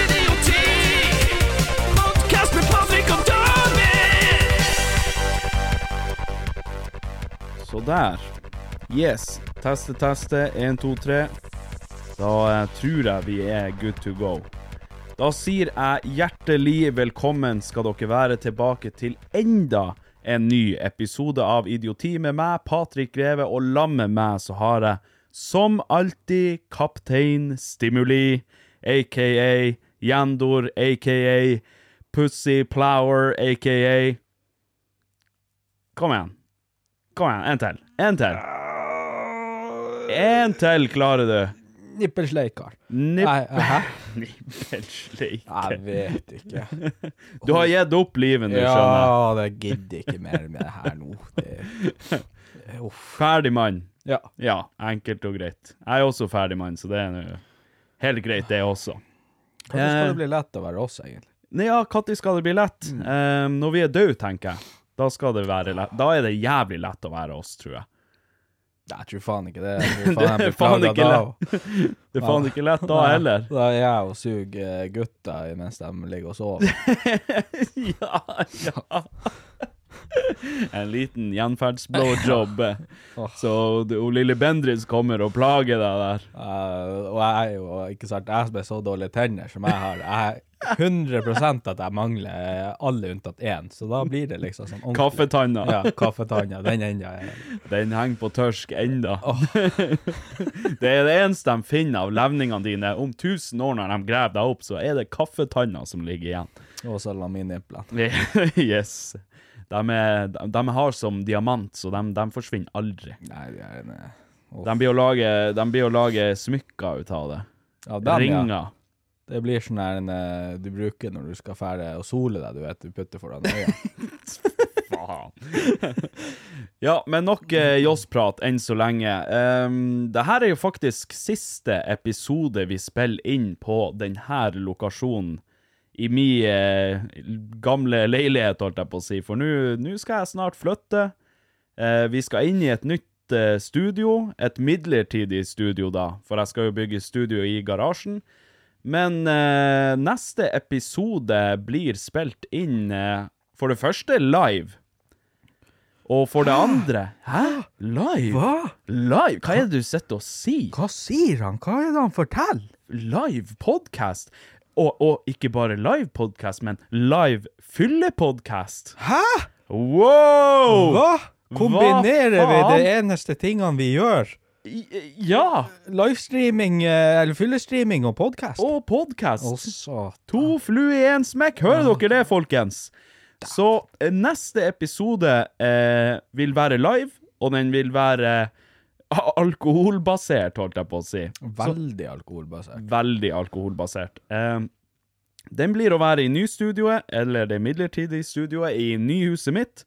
Idioti! Podcast med Patrick og David! Så der. Yes. Teste, teste. Én, to, tre. Da eh, tror jeg vi er good to go. Da sier jeg hjertelig velkommen skal dere være tilbake til enda en ny episode av Idioti med meg, Patrik Greve, og sammen med meg så har jeg som alltid Kaptein Stimuli, aka Jandor, aka Pussy Plower, aka Kom igjen. Kom igjen, en til. En til. En til klarer du. Nippelsleikar. Nipp- Nei, hæ? Jeg Nippelsleike. vet ikke. Du har gitt opp livet, du, skjønner jeg. Ja, det gidder ikke mer med det her nå. Det, Ferdig mann. ja. Ja, enkelt og greit. Jeg er også ferdig mann, så det er nå helt greit, det også. Kanskje Eh. skal det bli lett å være oss, egentlig. Nei, ja, når skal det bli lett? Eh, når vi er døde, tenker jeg. Da skal det være lett. Da er det jævlig lett å være oss, tror jeg. Nei, jeg tror faen ikke det. Det er faen ikke lett. Det er faen ikke lett da heller. Da er jeg og suger eh, gutta mens de ligger og sover. ja, ja. En liten gjenferdsblowjob. Så du, hun lille Bendriss kommer og plager deg der. Eh, og jeg er jo ikke sant, jeg som er så dårlige tenner som jeg har, jeg er 100 at jeg mangler alle unntatt én, så da blir det liksom sånn ordentlig. Kaffetanna. Ja, kaffetanna. Den enda er Den henger på tørsk enda. det er det eneste de finner av levningene dine. Om 1000 år når de graver deg opp, så er det kaffetanna som ligger igjen. Og så laminimplene. yes. De, er, de, de har som diamant, så de, de forsvinner aldri. Nei, de er en eh, uff. De blir å lage, de blir å lage smykker ut av det. Av dem, Ringer. Ja. Det blir sånn her en eh, du bruker når du skal fære og sole deg, du vet. Du putter foran øya. Faen. ja, men nok eh, Joss-prat enn så lenge. Um, det her er jo faktisk siste episode vi spiller inn på denne lokasjonen i min eh, gamle leilighet, holdt jeg på å si. For nå nå skal jeg snart flytte. Eh, vi skal inn i et nytt eh, studio. Et midlertidig studio, da. For jeg skal jo bygge studio i garasjen. Men eh, neste episode blir spilt inn eh, for det første live. Og for det andre Hæ? Live? Hva? Live? Hva er det du sitter og sier? Hva sier han? Hva er det han forteller? Live podcast? Og, og ikke bare live podcast, men live fyllepodcast. Hæ? Wow! Hva? Kombinerer vi faen? det eneste tingene vi gjør? eh, I- Ja! Livestreaming, eh, eller fyllestreaming og podkast? Og podcast. Også To flu i en smekk. Hører dere det, folkens? Så eh, neste episode eh, vil være live, og den vil være a- alkoholbasert, holdt jeg på å si. veldig alkoholbasert. Veldig alkoholbasert. Eh, den blir å være i nystudioet, eller det midlertidige studioet, i nyhuset mitt.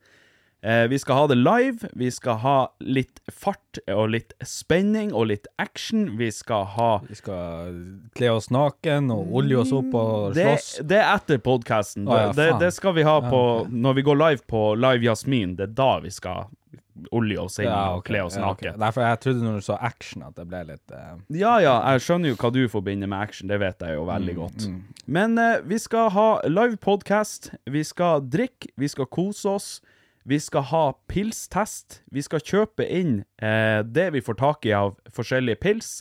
Eh, vi skal ha det live, vi skal ha litt fart og litt spenning og litt action. Vi skal ha Vi skal kle oss naken og olje oss opp og det, slåss. det er etter podkasten. Å, ja, det, faen. det skal vi ha på ok. når vi går live på Live Jasmin. Det er da vi skal olje oss inn og ok, kle oss ja, ok. naken. Nei, for jeg trodde når du sa action at det ble litt eh, Ja, ja, jeg skjønner jo hva du forbinder med action, det vet jeg jo veldig godt. Men eh, vi skal ha live podcast, vi skal drikke, vi skal kose oss, vi skal ha pilstest, vi skal kjøpe inn eh, det vi får tak i av forskjellige pils,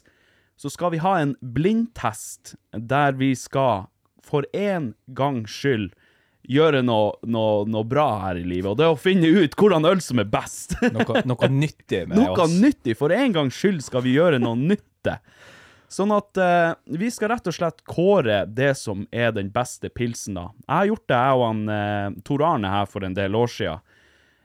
så skal vi ha en blindtest, der vi skal, for en gang skyld, gjøre noe, noe, noe bra her i livet, og det er å finne ut hvordan øl som er best. noe, noe nyttig med Noe oss. nyttig. For en gangs skyld skal vi gjøre noe nytte. Sånn at eh, vi skal rett og slett kåre det som er den beste pilsen, da. Jeg har gjort det, jeg og han eh, Tor Arne her for en del år sia.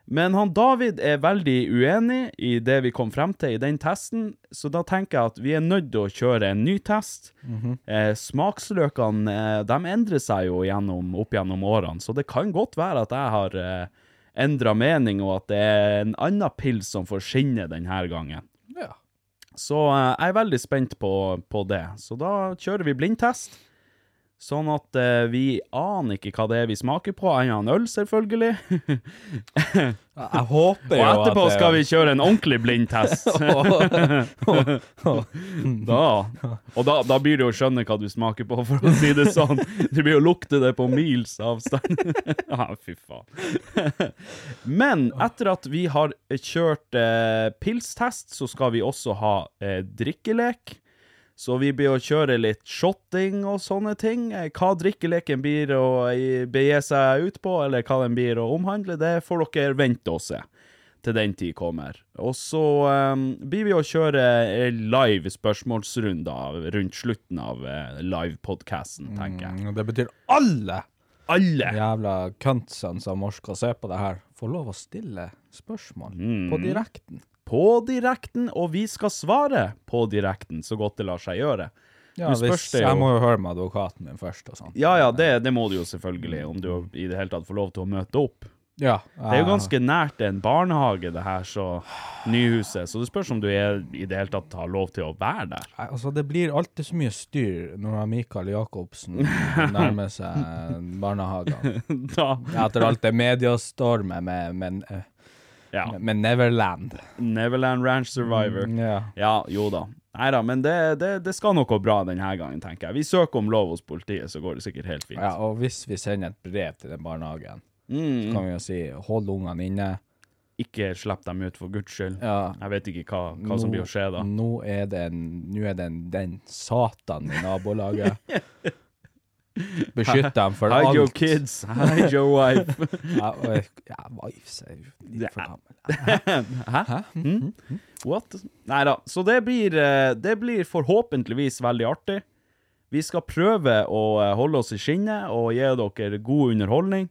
Men han David er veldig uenig i det vi kom frem til i den testen, så da tenker jeg at vi er nødt til å kjøre en ny test. eh, smaksløkene eh, de endrer seg jo gjennom, opp gjennom årene, så det kan godt være at jeg har eh, endra mening, og at det er en annen pils som får skinne denne gangen. Ja. Så eh, jeg er veldig spent på, på det. Så da kjører vi blindtest. Sånn at eh, vi aner ikke hva det er vi smaker på, annet enn øl, selvfølgelig. Jeg håper Og jo at etterpå det- skal vi kjøre en ordentlig blindtest. da. Og da, da blir det jo å skjønne hva du smaker på, for å si det sånn. Du blir jo lukte det på mils avstand. Ja, fy faen. Men etter at vi har kjørt eh, pilstest, så skal vi også ha eh, drikkelek. Så vi blir å kjøre litt shotting og sånne ting. Eh, Hva drikkeleken blir å eh, begi seg ut på, eller hva den blir å omhandle, det får dere vente og se til den tid kommer. Og så eh, blir vi å kjøre eh, live spørsmålsrunder rundt slutten av eh, live-podcasten, tenker jeg. Mm, Det betyr alle Alle! jævla cuntsene som orker å se på det her, får lov å stille spørsmål Mm. på direkten. På direkten, og vi skal svare på direkten så godt det lar seg gjøre. Ja, Nå hvis, spørs det jo- jeg må jo høre med advokaten min først og sånn. Ja, ja, det, det må du jo selvfølgelig, om du i det hele tatt får lov til å møte opp. Ja, Det er jo ganske nært en barnehage, det her, så nyhuset. Så det spørs om du er, i det hele tatt har lov til å være der. Nei, Altså, det blir alltid så mye styr når han Mikael Jacobsen nærmer seg barnehagene. Da, Etter alt det mediestormet med, med, eh, ja. med Neverland. Mm, Neverland Ranch Survivor. Ja. Ja, jo da. Nei da, men det, det, det skal noe bra denne gangen, tenker jeg. Vi søker om lov hos politiet, så går det sikkert helt fint. ja, og hvis vi sender et brev til den barnehagen, Mm. så kan vi jo si 'hold ungene inne'. Ikke slipp dem ut, for guds skyld. Ja. Jeg vet ikke hva, hva som blir å skje da. Nå er det, en, nå er det en, den satan i nabolaget. Beskytt dem for Hide alt. your kids, hide your wife. Ja, og jeg- ja, wives er jo litt for gammel. What? Nei da. Så det blir, eh, det blir forhåpentligvis veldig artig. Vi skal prøve å eh, holde oss i skinnet og gi dere god underholdning.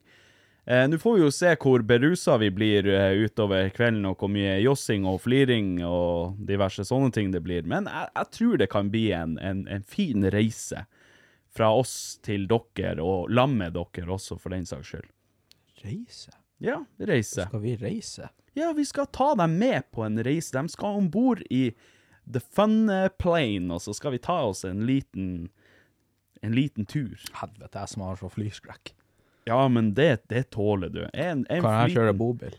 Eh, Nå får vi jo se hvor berusa vi blir eh, utover kvelden, og hvor mye jossing og fliring og diverse sånne ting det blir. Men jeg, jeg tror det kan bli en, en, en fin reise fra oss til dere, og lam med dere også, for den saks skyld. Reise? Ja, reise. Skal vi reise? Ja, vi skal ta dem med på en reise. De skal om bord i The Fun Plane, og så skal vi ta oss en liten en liten tur. Helvete, jeg som har så flyskrekk. Ja, men det, det tåler du. En, en Kan jeg flyten- kjøre bobil?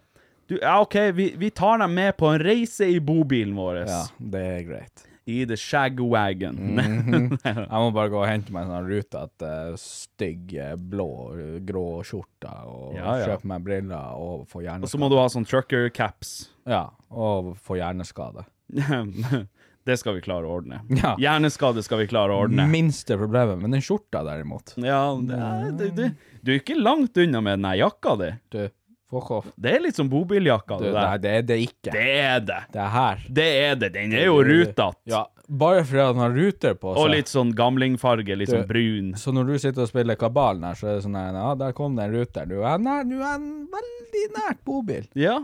Du, ja, OK, vi, vi tar dem med på en reise i bobilen vår. Ja, det er greit. I The Shag Wagon. Mm. Jeg må bare gå og hente meg en sånn rutete, stygg, eh, blå, eh, grå skjorte, og Ja, ja. kjøpe meg briller og få Og så hjerneskade. må du ha sånn trucker caps. Ja, og få hjerneskade. det skal vi klare å ordne. Ja. Hjerneskade skal vi klare å ordne. Minste problemet, men den skjorta derimot. Ja, det, det, det, du er ikke langt unna med den her jakka di. Du, fuck off. Det er litt som bobiljakka. Du, det der. nei, det er det ikke. Det, Det er det. er her. Det er det. Den er jo rutete. Ja, bare fordi han har ruter på seg. Og litt sånn gamlingfarge, litt sånn Du- brun. Så når du sitter og spiller kabalen her, så er det sånn her, ja, der kom den ruteren. Du er, nær, du er en veldig nært bobil. Ja,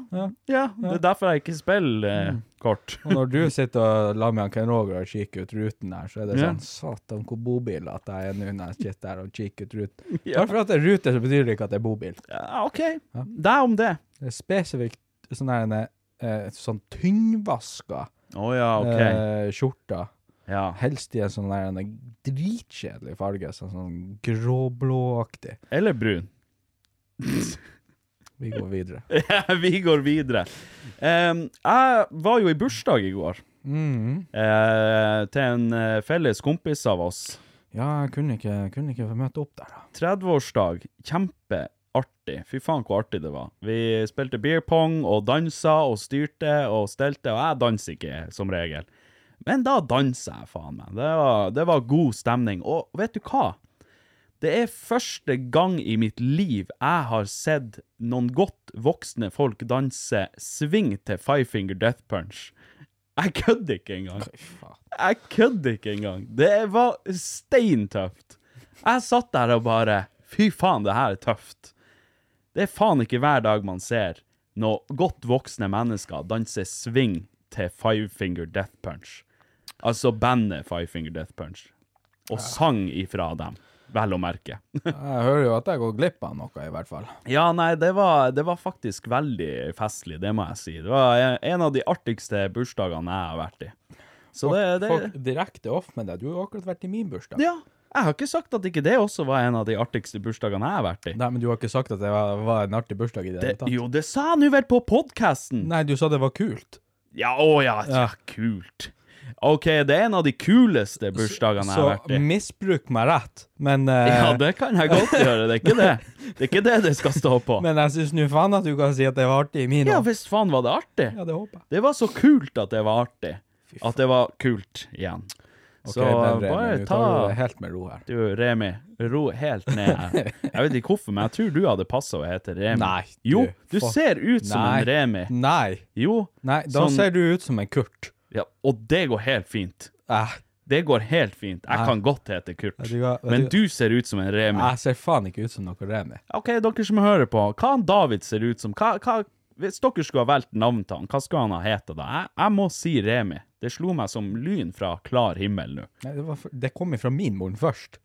ja, det er derfor jeg ikke spiller eh, kort. Og når du sitter og lar med han Ken Roger og kikker ut ruten der, så er det Ja. sånn, satan, hvor bobil at jeg er nå når jeg sitter der og kikker ut ruten. Ja. Bare fordi at det er ruter, så betyr det ikke at det er bobil. Ja, OK, deg om det. spesifikt sånn her en eh, sånn tynnvaska Å ja, OK. eh, skjorta. ja. Helst i en sånn her en dritkjedelig farge, sånn, sånn gråblåaktig. Eller brun. Vi går videre. Vi går videre. Em, jeg var jo i bursdag i går. Mm. Eh, til en eh, felles kompis av oss. Ja, jeg kunne ikke, kunne ikke få møte opp der, da. 30-årsdag. Kjempeartig. Fy faen, hvor artig det var. Vi spilte beer pong og dansa og styrte og stelte, og jeg danser ikke som regel. Men da danser jeg, faen meg. Det var, det var god stemning. Og vet du hva? Det er første gang i mitt liv jeg har sett noen godt voksne folk danse swing til Five Finger Death Punch. Jeg kødder ikke engang. Jeg kødder ikke engang. Det var steintøft. Jeg satt der og bare Fy faen, det her er tøft. Det er faen ikke hver dag man ser når godt voksne mennesker danser swing til Five Finger Death Punch. Altså bandet Five Finger Death Punch. Og sang ifra dem, vel å merke. Jeg hører jo at jeg går glipp av noe, i hvert fall. Ja, nei, det var, det var faktisk veldig festlig, det må jeg si. Det var en- en av de artigste bursdagene jeg har vært i. Så det, det Folk direkte off med deg. Du har jo akkurat vært i min bursdag. Ja, jeg har ikke sagt at ikke det også var en av de artigste bursdagene jeg har vært i. Nei, men du har ikke sagt at det var, var en artig bursdag i det Det, hele tatt. Eh, jo, det sa jeg nå vel på podkasten! Nei, du sa det var kult. Ja, å ja, ja, kult. OK, det er en av de kuleste bursdagene jeg Så har vært i. misbruk meg rett, men, eh, Ja, det kan jeg godt gjøre, det er ikke det. Det er ikke det det skal stå på. men jeg syns nå faen at du kan si at det var artig i min Ja år. visst faen var det artig. Ja, det håper jeg. Det var så kult at det var artig. At det var kult igjen. Så Ok, men Remi, bare nå ta tar du det helt med ro her. Du, Remi, ro helt ned her. Jeg vet ikke hvorfor, men jeg tror du hadde passa å hete Remi. Nei, du, Jo, du fuck. ser ut som Nei. en Remi. Nei. Jo. Nei, da sånn- ser du ut som en Kurt. ja, Og det går helt fint. Eh, Det går helt fint. Jeg kan godt hete Kurt, Vet du hva- vet men du- du ser ut som en Remi. jeg ser faen ikke ut som noe Remi. OK, dere som hører på, hva han David ser ut som hva, hva, Hvis dere skulle ha valgt navn til han, hva skulle han ha hete da? Jeg, jeg må si Remi. Det slo meg som lyn fra klar himmel nå. Nei, det, var, for- det kom ifra min munn først.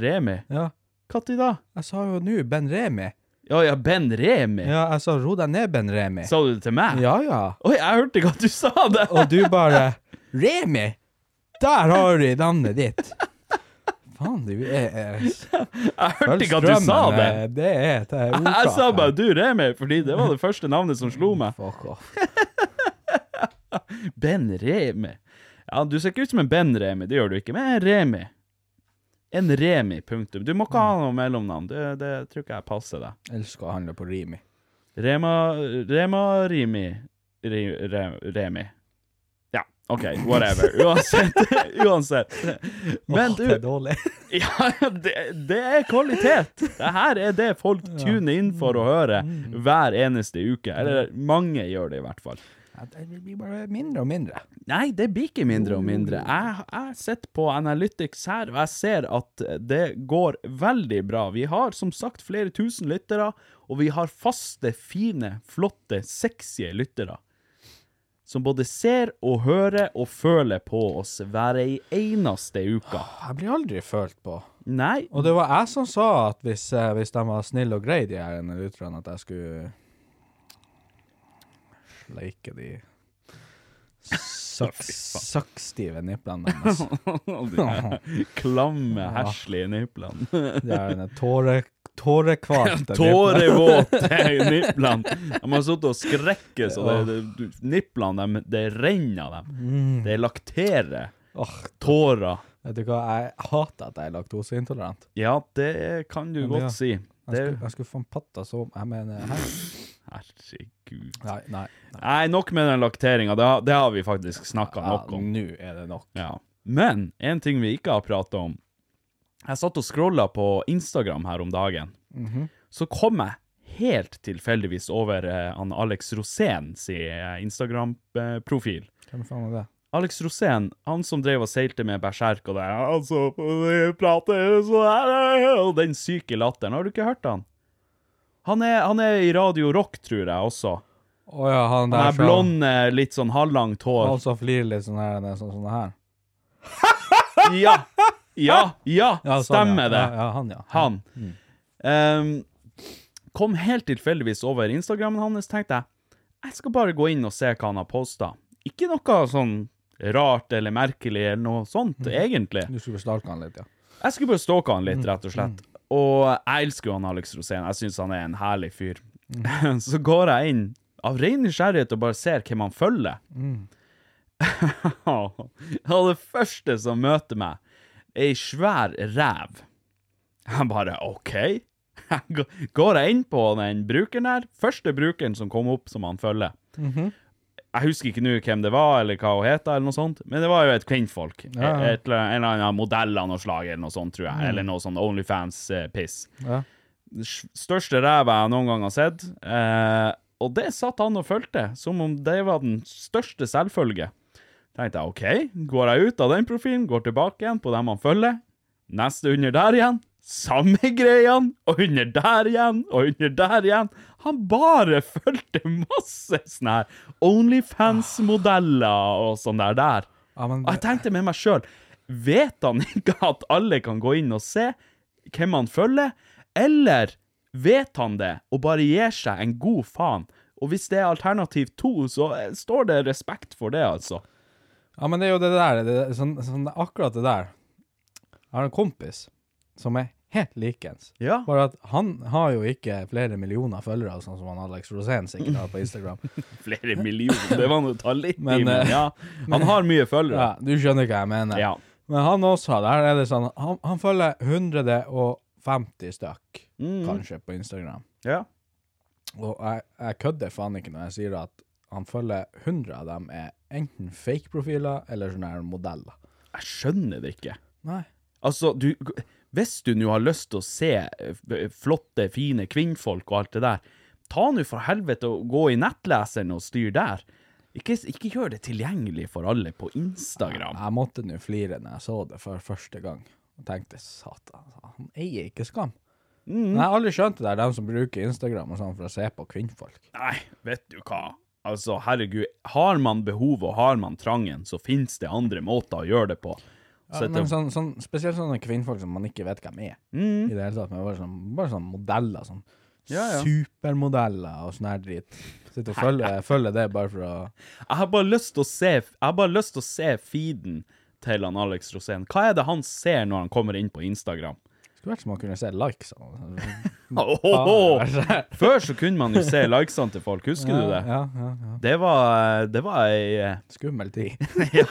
Remi? Ja, Når da? jeg sa jo nå Ben Remi. Ja, ja, Ben Remi? Ja, jeg sa ro deg ned, Ben Remi. Sa du det til meg? Ja, ja. Oi, jeg hørte ikke at du sa det! Og du bare Remi! Der har du navnet ditt! Faen, du er eh, Jeg hørte ikke at du sa strømmen, det! eh, Det er et eh, ordtak. Jeg sa bare her. 'du, Remi', fordi det var det første navnet som slo meg. Fuck off. Ben Remi. Ja, du ser ikke ut som en Ben Remi, det gjør du ikke, men en Remi. En Remi, punktum. Du må ikke ha noe mellomnavn, det, det tror ikke jeg passer deg. Elsker å handle på Rimi. Rema, Rema Rimi, Ri, Re, Remi. Ja, ok, whatever. Uansett, uansett. Men Åh, du, det er dårlig. ja, det, det er kvalitet. Det her er det folk tuner inn for å høre Mm. hver eneste uke. Eller mange gjør det i hvert fall. Ja, Det blir bare mindre og mindre. Nei, det blir ikke mindre og mindre. Jeg, jeg sitter på Analytics her, og jeg ser at det går veldig bra. Vi har som sagt flere tusen lyttere, og vi har faste, fine, flotte, sexy lyttere. Som både ser og hører og føler på oss hver ei eneste uke. Jeg blir aldri følt på. Nei, Og det var jeg som sa at hvis, eh, hvis de var snille og greie, de her lytterne, at jeg skulle sleike de Sakstive nipplene deres. de klamme, heslige niplene. De her denne tåre, tårekvalte Tårevåte niplene. De har sittet og skrekket, så det, det, du- niplene de, det renner Mm. dem. Det lakterer. Åh, Tårer. Vet du hva, jeg hater at jeg er laktoseintolerant. Ja, det kan du ja. godt si. Jeg Det, skulle, jeg skulle faen patta så Jeg mener her. herregud. Nei, nei. nei. Nei, nok med den lakteringa. Det, har- det har vi faktisk snakka Ja, nok om. Nå er det nok. Ja. Men en ting vi ikke har prata om Jeg satt og scrolla på Instagram her om dagen. Mhm. Så kom jeg helt tilfeldigvis over eh, han Alex Rosén sin eh, Instagram-profil. Hvem faen er det? Alex Rosén, han som drev og seilte med berserk og det Altså, prater sånn her Og den syke latteren. Har du ikke hørt han? Han er, han er i Radio Rock, tror jeg også. Å ja, han der Han er som- blond, eh, litt sånn halvlangt hår. Han som flirer litt sånn her. Sånn, sånn her. Ja, ja, ja, Ja, sånn, ja. stemmer Mm. det. Ja, ja, han, ja. Han. Ehm, kom helt tilfeldigvis over Instagrammen hans, tenkte jeg jeg skal bare gå inn og se hva han har posta. Ikke noe sånn rart eller merkelig eller noe sånt, Mm. egentlig. Du skulle bestalke han litt, ja. Jeg skulle bare stalke han litt, rett og slett. Og jeg elsker jo han Alex Rosén. Jeg syns han er en herlig fyr. Så går jeg inn av ren nysgjerrighet og bare ser hvem han følger. og det første som møter meg, er ei svær rev. Jeg bare OK. Jeg g- Går jeg inn på den brukeren her? Første brukeren som kom opp, som han følger. Jeg husker ikke nå hvem det var, eller hva hun heter, eller noe sånt. Men det var jo et kvinnfolk. Ja, ja. Et, eller- en eller annen modell av noe slag, eller noe sånt, tror jeg. Eller noe sånn Onlyfans-piss. Ja. Største ræva jeg noen gang har sett. Eh, og det satt han og fulgte, som om det var den største selvfølge. Tenkte jeg, ok, går jeg ut av den profilen, går tilbake igjen på dem han følger, Neste under der igjen. Samme greiene. Og under der igjen. Og under der igjen. Han bare fulgte masse sånne her Onlyfans-modeller og sånn der der. Ja, men Og jeg tenkte med meg sjøl Vet han ikke at alle kan gå inn og se hvem han følger? Eller vet han det og bare gir seg en god faen? Og hvis det er alternativ to, så eh, står det respekt for det, altså. Ja, men det er jo det der, det, det- sånn, sånn, akkurat det der. Jeg har en kompis som er helt likens. Ja. Bare at han har jo ikke flere millioner følgere, sånn som han Alex Rosén sikkert har på Instagram. Flere millioner, det var nå å ta litt i, Men, men eh, ja. Han har mye følgere. Ja, du skjønner hva jeg mener. Ja. Men han også, der er det sånn, han, han følger 150 stykk, kanskje, på Instagram. Ja. Og jeg, jeg kødder faen ikke når jeg sier at han følger 100 av dem er enten fake-profiler eller sånne her modeller. Jeg skjønner det ikke. Nei. Altså, du Hvis du nå har lyst til å se eh, f- flotte, fine kvinnfolk og alt det der, ta nå for helvete og gå i nettleseren og styr der. Ikke, ikke gjør det tilgjengelig for alle på Instagram. Jeg måtte nå flire når jeg så det for første gang. Og tenkte satan, altså, han eier ikke skam. Men jeg har aldri skjønt det der, dem som bruker Instagram og sånn for å se på kvinnfolk. Nei, vet du hva. Altså, herregud, har man behov og har man trangen, så finnes det andre måter å gjøre det på. Ja, Sette- men sånn, sånn, spesielt sånne kvinnfolk som man ikke vet hvem er. I det hele tatt, men bare sånn, bare sånn modeller. Sånn Ja, ja. supermodeller og sånn her dritt. Sitter og følger, følger det bare for å Jeg har bare lyst til å se Jeg har bare lyst til å se feeden til han Alex Rosén. Hva er det han ser når han kommer inn på Instagram? Skulle vært som man kunne se likes. Sånn. Åhåhå! Før så kunne man jo se likesene til folk, husker du det? Ja, ja, ja. Det var Det var ei Skummel tid. ja.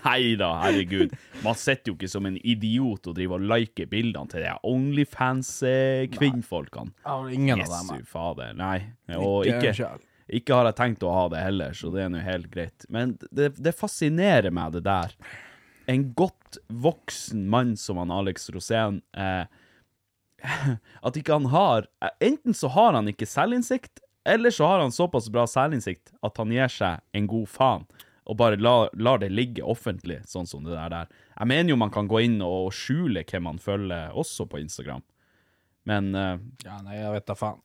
Nei da, herregud. Man sitter jo ikke som en idiot og driver og liker bildene til de Onlyfans-kvinnfolkene. ingen av dem. Jesu fader, nei. Og Ikke ikke, selv. ikke har jeg tenkt å ha det heller, så det er nå helt greit. Men det, det fascinerer meg, det der. En godt voksen mann som han Alex Rosén eh, At ikke han har Enten så har han ikke selvinnsikt, eller så har han såpass bra selvinnsikt at han gir seg en god faen. Og bare la, lar det ligge offentlig, sånn som det der der. Jeg mener jo man kan gå inn og skjule hvem man følger, også på Instagram. Men eh, Ja, nei, jeg vet da faen.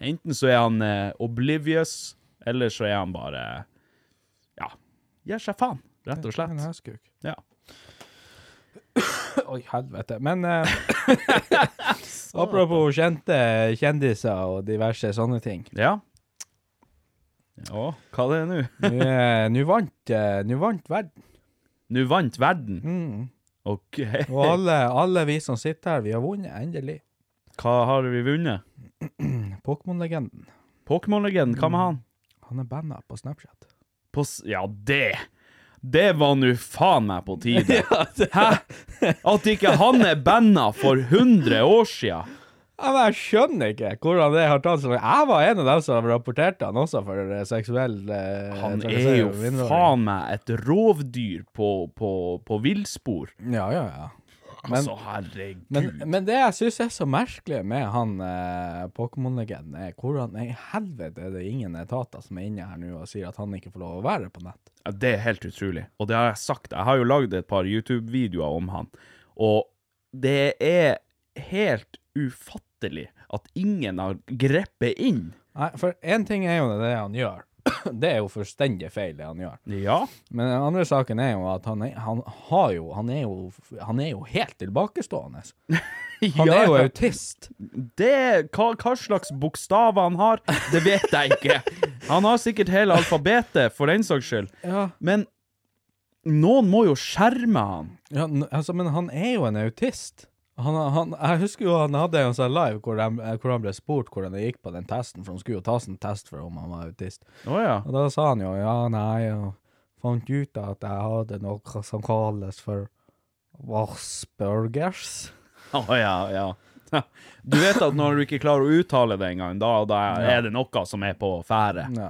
Enten så er han eh, oblivious, eller så er han bare Ja, gir seg faen, rett og En slett. høskuk. Ja. Oi, helvete. Men eh, apropos kjente kjendiser og diverse sånne ting. ja. Å, hva det er nå? Nå eh, nå vant, eh, nå vant verden. Mm. Nå vant verden. OK. Og alle, alle vi som sitter her, vi har vunnet, endelig. Hva har vi vunnet? Pokémon-legenden. Pokémon-legenden, hva med han? Han er banna på Snapchat. På s ja, det Det var nå faen meg på tide. Hæ? At ikke han er banna for 100 år sia. Ja, men jeg skjønner ikke hvordan det har tatt så lang Jeg var en av dem som rapporterte han også for eh, seksuell eh, Han er trakassering jo av mindreårige. faen meg et rovdyr på, på, på villspor. Ja, ja, ja. Altså, herregud. Men, men det jeg syns er så merkelig med han eh, Pokémon-legenden, er hvordan i helvete er det ingen etater som er inne her nå og sier at han ikke får lov å være på nett? Ja, Det er helt utrolig. Og det har jeg sagt. Jeg har jo lagd et par YouTube-videoer om han. Og det er helt ufattelig at ingen har grepet inn. Nei, for én ting er jo det han gjør. Det er jo fullstendig feil, det han gjør. Ja. Men den andre saken er jo at han er, han har jo, han er jo, han er jo helt tilbakestående. Han Ja, er jo ja. autist. Det, hva, hva slags bokstaver han har, det vet jeg ikke. Han har sikkert hele alfabetet, for den saks skyld. Ja. Men noen må jo skjerme han. Ja, n- altså, men han er jo en autist. Han, han, jeg husker jo han hadde en sånn live hvor, de, hvor han ble spurt hvordan det gikk på den testen, for han skulle jo ta sin test for om han var autist. Å ja. Og da sa han jo ja, nei, jeg fant ut at jeg hadde noe som kalles for Aspergers. Å ja, ja. Du vet at når du ikke klarer å uttale det engang, da, da er det noe som er på ferde. Ja.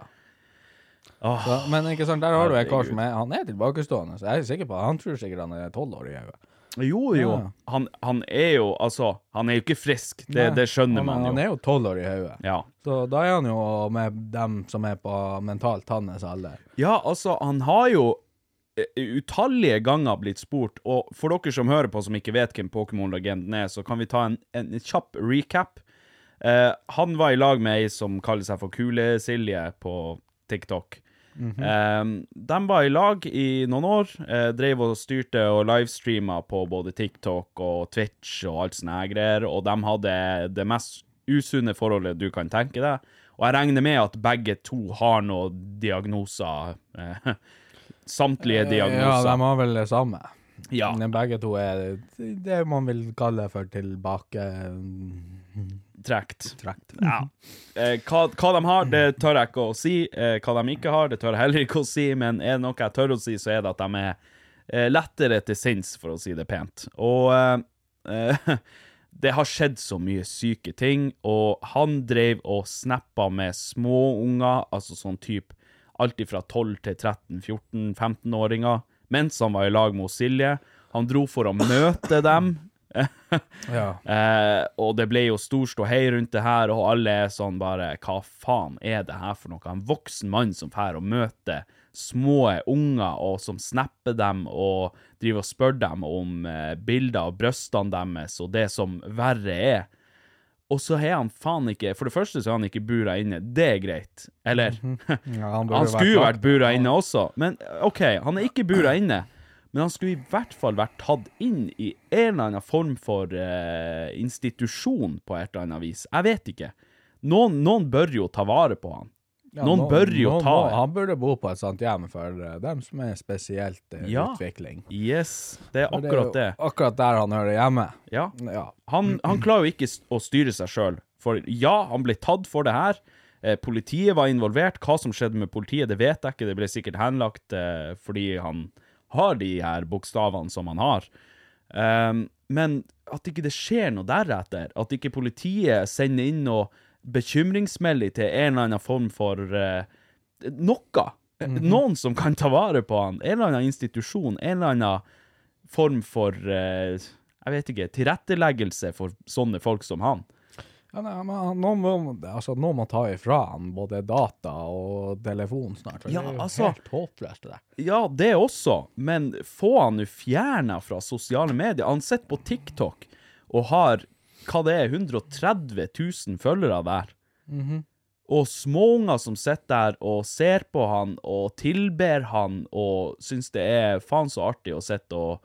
Åh. Så, men ikke sant, der har du en kar som er Han er tilbakestående, så jeg er sikker på han tror sikkert han er tolv år i øyet. Jo, jo. Ja. Han, han er jo Altså, han er jo ikke frisk. Det, Nei, det skjønner han, man jo. Han er jo tolv år i hodet. Ja. Så da er han jo med dem som er på mentalt hans alder. ja, altså, han har jo eh, utallige ganger blitt spurt, og for dere som hører på som ikke vet hvem Pokémon-legenden er, så kan vi ta en, en kjapp recap. Eh, han var i lag med ei som kaller seg for Kule-Silje på TikTok. Mhm. Eh, de var i lag i noen år, eh, drev og styrte og livestreama på både TikTok og Twitch og alt sånne her greier, og de hadde det mest usunne forholdet du kan tenke deg. Og jeg regner med at begge to har noen diagnoser. Eh, samtlige Eh, Ja, de diagnoser. har vel det samme. Ja, Men begge to er det man vil kalle for tilbaketrekk. trekt. Ja. Eh, hva, hva de har, det tør jeg ikke å si. Eh, hva de ikke har, det tør jeg heller ikke å si. Men er det noe jeg tør å si, så er det at de er eh, lettere til sinns, for å si det pent. Og eh, eh, det har skjedd så mye syke ting, og han dreiv og snappa med småunger, altså sånn type alt fra 12 til 13-14-15-åringer, mens han var i lag med Silje. Han dro for å møte dem. Ja. Eh, og det ble jo stor ståhei rundt det her, og alle er sånn bare Hva faen er det her for noe? En voksen mann som drar og møter små unger, og som snapper dem og driver og spør dem om eh, bilder av brystene deres og det som verre er. Og så er han faen ikke For det første så er han ikke bura inne. Det er greit. Eller? Ja, han burde Han vært skulle jo lagt- vært bura inne også, men eh, OK, han er ikke bura inne. Men han skulle i hvert fall vært tatt inn i en eller annen form for eh, institusjon på et eller annet vis. Jeg vet ikke. Noen, noen bør jo ta vare på han. Ja, noen nå- bør jo nå ta må- Han burde bo på et sånt hjem for eh, dem som er spesielt eh, Ja. utvikling. Yes, det er For er akkurat det. jo Akkurat der han hører hjemme. Ja. Ja. Han, han klarer jo ikke s- å styre seg sjøl. For ja, han ble tatt for det her. Eh, politiet var involvert. Hva som skjedde med politiet, det vet jeg ikke. Det ble sikkert henlagt eh, fordi han har de her bokstavene som han har. Ehm, men at ikke det skjer noe deretter. At ikke politiet sender inn noe bekymringsmelding til en eller annen form for eh, noe. Noen som kan ta vare på han. En eller annen institusjon. En eller annen form for eh, Jeg vet ikke, tilretteleggelse for sånne folk som han. Ja, nei, men han- nå må, altså, nå må ta ifra han både data og telefon snart. for Ja, det er jo altså- helt håpløst, det der. Ja, det også, men få han nå fjerna fra sosiale medier. Han sitter på TikTok og har hva det er, 130 000 følgere der. Og småunger som sitter der og ser på han og tilber han og syns det er faen så artig å sitte og,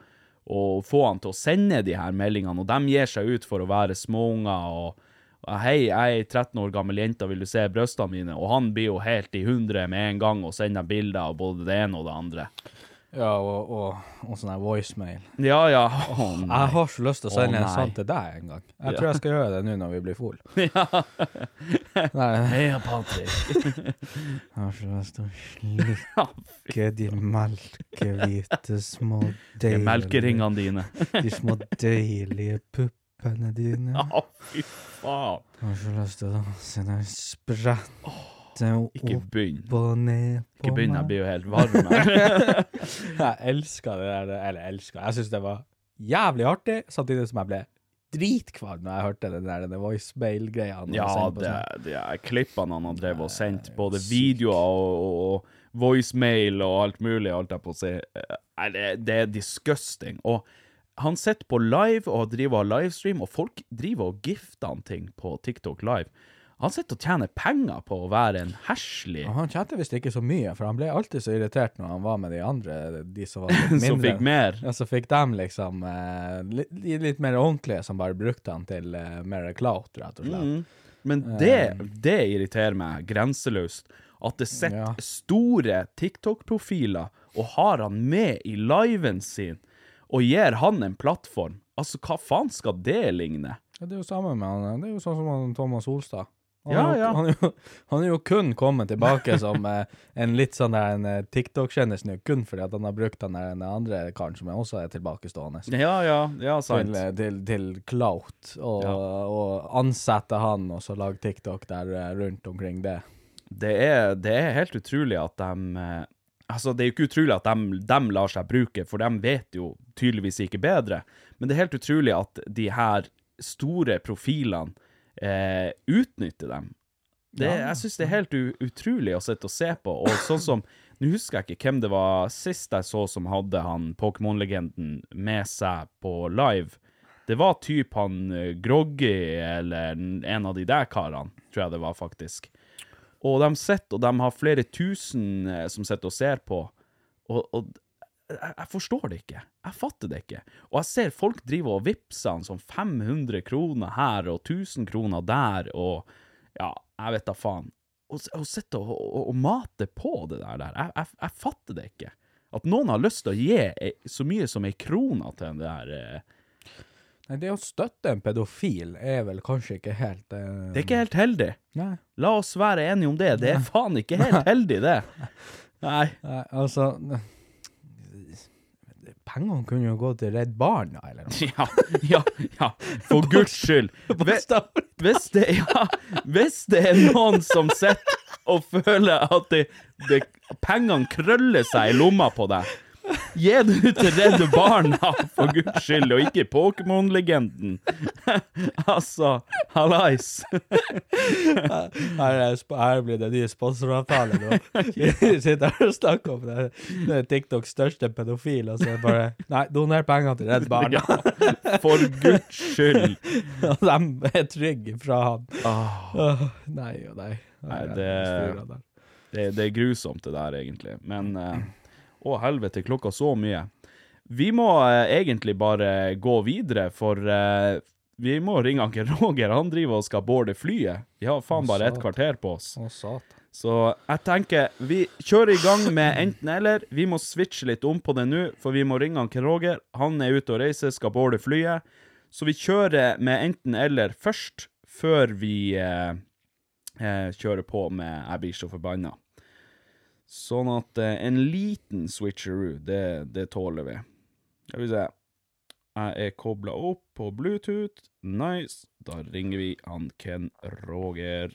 og få han til å sende de her meldingene, og de gir seg ut for å være småunger og og Hei, jeg er ei 13 år gammel jente, vil du se brystene mine? Og han blir jo helt i hundre med en gang og sender bilder av både det ene og det andre. Ja, og, og, og sånn her voicemail. Ja, ja. Å, nei. Jeg har så lyst til å Å, sende en nei. sånn til deg en gang. Jeg tror jeg skal gjøre det nå når vi blir full. Nei, Heia Patrick. jeg har så lyst til å slikke de melkehvite små Det er melkeringene dine. De små deilige puppene dine. Å, fy faen. Jeg har så lyst til å sende en sprette Ikke opp begynn. og ned på Ikke begynn, jeg meg. blir jo helt varm. her. Jeg elsker det der, eller elsker Jeg syns det var jævlig artig, samtidig som jeg ble dritkvalm når jeg hørte den der denne voicemail-greia. han Ja, sendte på det, sånn. det er klippene han har drevet og sendt. Både videoer og, og, og voicemail og alt mulig, holdt jeg på å si. Eh, Nei, det, det er disgusting. Og han sitter på live og driver og har livestream, og folk driver og gifter han ting på TikTok live. Han sitter og tjener penger på å være en heslig Og han tjente visst ikke så mye, for han ble alltid så irritert når han var med de andre, de som var litt mindre. som fikk mer. Ja, så fikk dem liksom eh, litt, de litt mer ordentlige, som bare brukte han til eh, mer clout, rett og Mm. slett. Men det, det irriterer meg grenseløst. At det sitter Ja. store TikTok-profiler og har han med i liven sin, og gir han en plattform. Altså, hva faen skal det ligne? Ja, det er jo samme med han. Det er jo sånn som han, Thomas Olstad. Han, Ja, er jo, ja. Han, er jo, han er jo kun kommet tilbake som eh, en litt sånn der en eh, TikTok-kjendis nå, kun fordi at han har brukt den der den andre karen som også er tilbakestående. Ja, ja, ja, sant. Til, eh, til, til clout, og, Ja. og ansette han og så lage TikTok der eh, rundt omkring det. det er, det er helt utrolig at de eh, Altså, det er jo ikke utrolig at de, de lar seg bruke, for de vet jo tydeligvis ikke bedre. Men det er helt utrolig at de her store profilene eh, utnytter dem. Det, Jeg syns det er helt u utrolig å sitte og se på. Og sånn som Nå husker jeg ikke hvem det var sist jeg så som hadde han Pokémon-legenden med seg på live. Det var typ han eh, Groggy eller en av de der karene, tror jeg det var, faktisk. Og de sitter, og de har flere tusen eh, som sitter og ser på. Og, og jeg, jeg forstår det ikke. Jeg fatter det ikke. Og jeg ser folk driver og vippser han som 500 kroner her og 1000 kroner der, og ja, jeg vet da faen. Og, s- og sitter og, og, og mater på det der. der. Jeg, jeg, jeg fatter det ikke. At noen har lyst til å gi ei- så mye som ei krone til den der eh, Nei, det å støtte en pedofil er vel kanskje ikke helt eh, Det er ikke helt heldig. Nei. La oss være enige om det. Det er faen ikke helt heldig, det. Nei. Nei, altså Pengene kunne jo gå til Redd Barna, eller noe. Ja, ja, ja. For guds skyld. Hvis, hvis, det, ja, hvis det er noen som sitter og føler at det, det, pengene krøller seg i lomma på deg, gi det ut til Redde Barna, for guds skyld, og ikke Pokémon-legenden. altså, hallais. Her, er sp- her blir det nye sponsoravtaler nå. Vi sitter her og snakker om det. Det er TikToks største pedofil, og så er det bare Nei, doner penger til Redd Barna. Ja, for guds skyld. Og de er trygge fra han. Åh, nei og nei. Ah. Nei, det- Jeg er der. Det, det er grusomt det der, egentlig. Men eh, å helvete, klokka så mye. Vi må eh, egentlig bare gå videre, for eh, vi må ringe Anker Roger. Han driver og skal boarde flyet. Vi har faen bare et kvarter på oss. Å, satan. Så jeg tenker vi kjører i gang med enten-eller. Vi må switche litt om på det nå, for vi må ringe han Ken Roger. Han er ute og reiser, skal boarde flyet. Så vi kjører med enten-eller først, før vi eh, eh, kjører på med 'Jeg blir så forbanna'. Sånn at eh, en liten switcheroo, det, det tåler vi. Skal vi se. Jeg er kobla opp på Bluetooth. Nice. Da ringer vi han Ken Roger.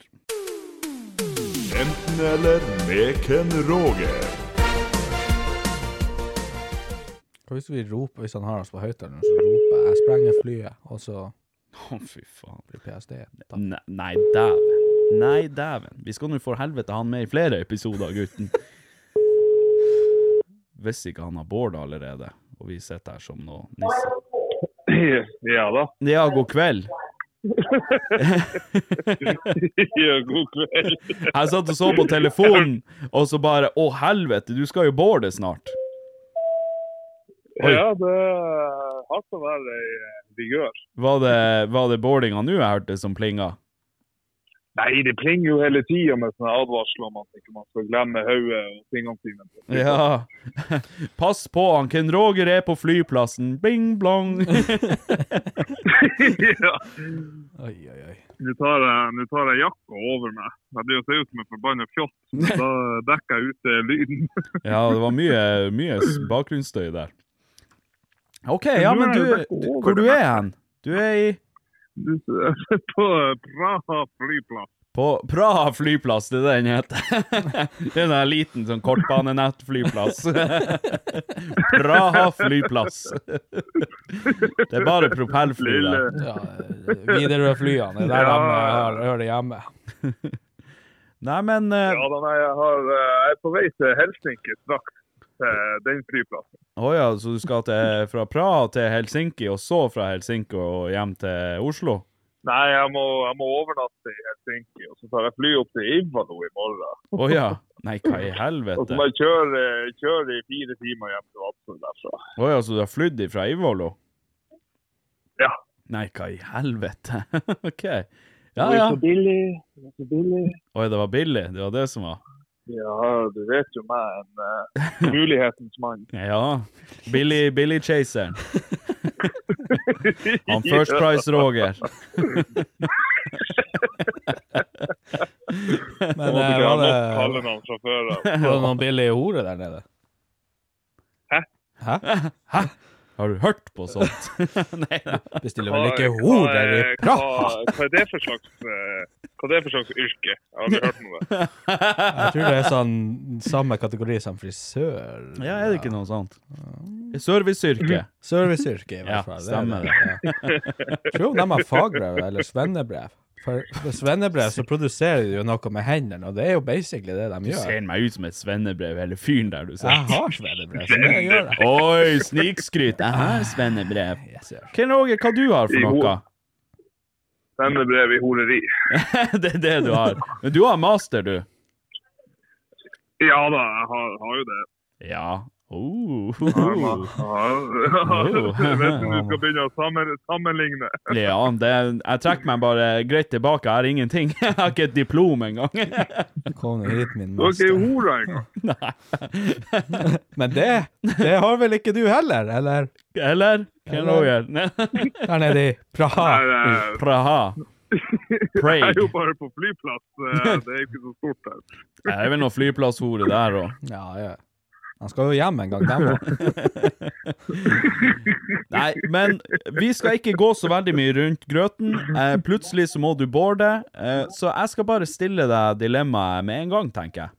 Enten eller med Ken Roger. Hva hvis vi roper, hvis han har oss på høyttaleren, så roper jeg 'jeg sprenger flyet', og så Å, fy faen. blir PST da. Ne nei, dæven. Nei, dæven. Vi skal nå for helvete ha han med i flere episoder, gutten. Hvis ikke han har Bård allerede, og vi sitter her som noe nisse. Ja da. Ja, god kveld. Ja, god kveld. Jeg satt og så på telefonen, og så bare Å, helvete, du skal jo boarde snart. Oi. Ja, det er hardt å være i eh, vigør. Var det, var det boardinga nå jeg hørte som plinga? Nei, det plinger jo hele tida med sånne advarsler om at ikke man skal glemme hodet og tingene sine. Ja. Pass på, han Ken Roger er på flyplassen. Bing blong. ja. Oi, oi, oi. Nå tar jeg, nå tar jeg jakka over meg. Jeg blir jo ser ut som en forbanna fjott. men Da dekker jeg ut eh, lyden. Ja, det var mye, mye s- bakgrunnsstøy der. OK, ja, du men er du, jo dekket du over Hvor du det er meste. hen? Du er i Du ser på Praha flyplass. På Praha flyplass, det er det den heter. Det er en liten sånn kortbanenettflyplass. Praha flyplass. Det er bare propellfly der. Lille Ja, Widerøe-flyene, det er der Ja. de eh, har- hører hjemme. Nei, men eh, Ja da, nei, jeg, har, eh, jeg er på vei til Helsinki straks. eh, Den flyplassen. Å ja, så du skal til, fra Praha til Helsinki, og så fra Helsinki og hjem til Oslo? Nei, jeg må, jeg må overnatte i Helsinki, og så tar jeg fly opp til Ivalo i morgen. Å ja. Nei, hva i Og så helvete? må Å jeg kjøre, kjøre i fire timer hjem til Vadsø derfra. ja, så du har flydd ifra Ivolo? Ja. Nei, hva i helvete? OK. Ja, ja. Det er så billig, det er så billig. Oi, det var billig. Det var det som var. Ja, du vet jo meg, en eh, mulighetens mann. Ja. Billy, Billy Chaseren. Han First Price Roger. Men Må eh, ikke ha var, nok det, kallenavn fra før av. var det noen billige horer der nede? Hæ? Hæ? Hæ? Har du hørt på sånt? Nei da. Bestiller Hva- vel ikke hva horer i er- Praha? hva- Hva er det for slags, eh, hva er det for slags yrke? Jeg har aldri hørt om det. Jeg tror det er sånn samme kategori som frisør. Ja, er det ikke noe sånt? Serviceyrke. Serviceyrke, i Ja, hvert fall. stemmer det. er det. Ja. Tror de har fagbrev eller svennebrev. For med svennebrev så produserer de jo noe med hendene, og det er jo basically det de Du gjør. ser meg ut som et svennebrev, hele fyren der du Jeg ser. har svennebrev, så det gjør jeg. Oi, snikskryt. Jeg har svennebrev. Yes, sir. Ken Roger, hva du har for I noe? Denne brev i horeri. Det er det du har. Men du har master, du. Ja da, jeg har, har jo det. Ja. Oh. Jeg har ma- jeg har- Jeg vet du du skal begynne å sammen, sammenligne. Ja, det, jeg trekker meg bare greit tilbake. Jeg har ingenting. Jeg har ikke et diplom engang. Kom nå hit, min Du er ikke i master. hora engang. Men det, det har vel ikke du heller, eller? Eller? Ken Roger? Der nede i Praha. Jeg, er- Praha. jeg er Prague. jo bare på flyplass. eh, Det er ikke så stort her. Det er vel noe flyplasshore der òg. Ja, ja. Han skal jo hjem en gang, dem òg. Nei, men vi skal ikke gå så veldig mye rundt grøten. Eh, plutselig så må du boarde, eh, så jeg skal bare stille deg dilemmaet med en gang, tenker jeg.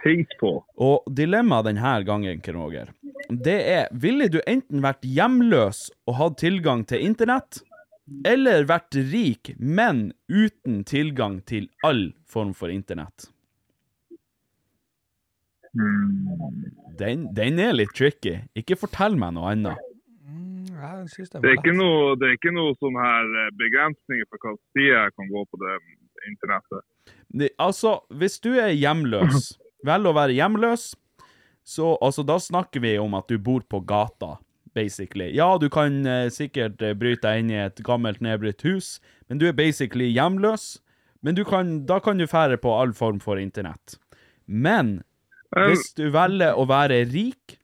Tenk på. Og dilemmaet denne gangen, Ken Roger, det er Ville du enten vært hjemløs og hatt tilgang til internett, eller vært rik, men uten tilgang til all form for internett? Den, den er litt tricky. Ikke fortell meg noe annet. Det er ikke noe, det er ikke noe sånn her eh, begrensninger for hva side jeg kan gå på det internettet. Det- Altså, hvis du er hjemløs, vel å være hjemløs, så altså, da snakker vi om at du bor på gata, basically. Ja, du kan eh, sikkert eh, bryte deg inn i et gammelt nedbrutt hus, men du er basically hjemløs. Men du kan, da kan du fære på all form for internett. Men Eh, hvis du velger å være rik,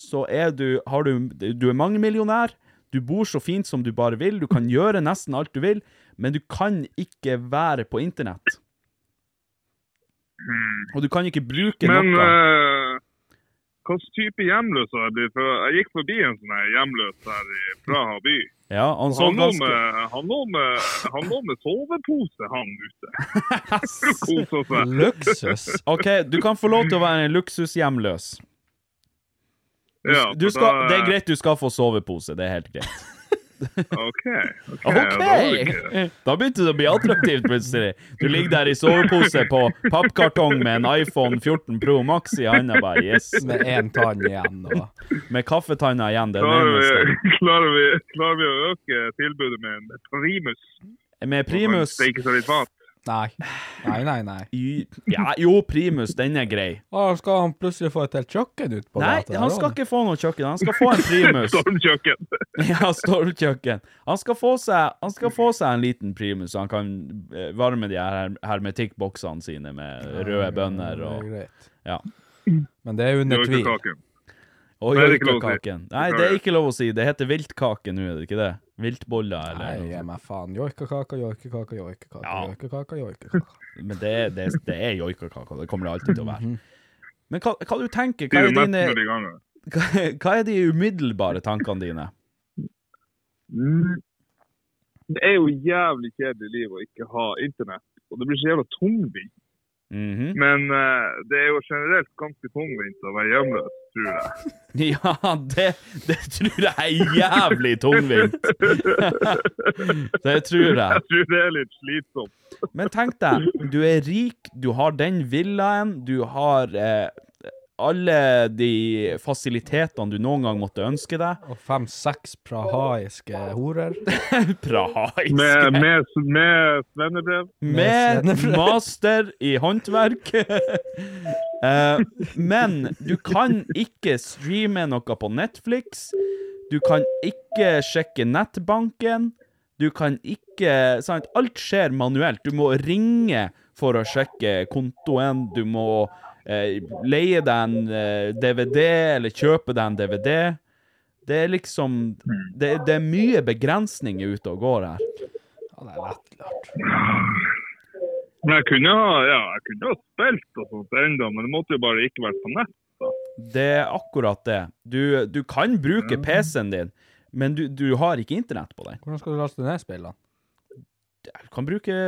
så er du, har du, du er mangemillionær, du bor så fint som du bare vil, du kan gjøre nesten alt du vil, men du kan ikke være på internett. Og du kan ikke bruke Hmm. Men noe. eh, hva slags type hjemløs har jeg blitt? For jeg gikk forbi en sånn her hjemløs her i Praha by. Ja, han så Han lå ganske... med, han lå med, han lå med sovepose, han ute. Kosa seg. Luksus. OK, du kan få lov til å være en luksushjemløs. Du, Ja, du for skal, da- det er greit, du skal få sovepose, det er helt greit. OK. ok, da var det greit. OK! Da begynte det å bli attraktivt plutselig. Du ligger der i sovepose på pappkartong med en iPhone 14 Pro Max i handa. bare, Yes. Med én tann igjen. Og... Med kaffetanna igjen, det er den Klarer eneste. vi, klarer, vi, klarer vi å øke tilbudet med en primus? Med primus Det er ikke så litt mat. Nei. Nei, nei, nei. i- ja, Jo, primus, den er grei. Å, skal han plutselig få et helt kjøkken ut på Nei, gata? han skal ikke få noe kjøkken. Han skal få en primus. Stormkjøkken. Ja, stormkjøkken. Han skal få seg, han skal få seg en liten primus, så han kan eh, varme de her hermetikkboksene sine med røde bønner og Greit. Ja. Men det er under tvil. Gjørkekaken. Og Nei, det er ikke lov å si. joikakaken. Nei, det er ikke lov å si. Det heter viltkake nå, er det ikke det? Viltboller Nei, eller gi noe sånt. meg faen. Joikakaka, joikakaka, joikakaka, altså. Ja. joikakaka, joikakaka. Men det, er- det, er- det er joikakake, og det kommer det alltid til å Mhm. være. Men hva, hva du tenker? Hva Sier er, du mest dine, når de ganger? hva, hva er de umiddelbare tankene dine? Mm. Det er jo jævlig kjedelig liv å ikke ha internett. Og det blir så jævla tungvint. Mhm. Men eh, det er jo generelt ganske tungvint å være hjemløs, tror jeg. Ja, det, det tror jeg er jævlig tungvint. det tror jeg. Jeg tror det er litt slitsomt. Men tenk deg, du er rik, du har den villaen, du har eh, alle de fasilitetene du noen gang måtte ønske deg. Og fem-seks prahaiske horer. Prahaisk. Med, med, med svennebrev. Med Med svennebrev. master i håndverk. Eh, men du kan ikke streame noe på Netflix. Du kan ikke sjekke nettbanken. Du kan ikke sant? Alt skjer manuelt. Du må ringe for å sjekke kontoen. Du må eh, leie deg en eh, DVD, eller kjøpe deg en DVD. Det er liksom Det, det er mye begrensninger ute og går her. Ja, det er lettlurt. Men jeg kunne ha, ja, jeg kunne ha spilt og sånt ennå, men det måtte jo bare ikke vært på nett. da. Det er akkurat det. Du, du kan Mhm. bruke PC-en din, men du, du har ikke internett på den. Hvordan skal du laste ned spillene? Du kan bruke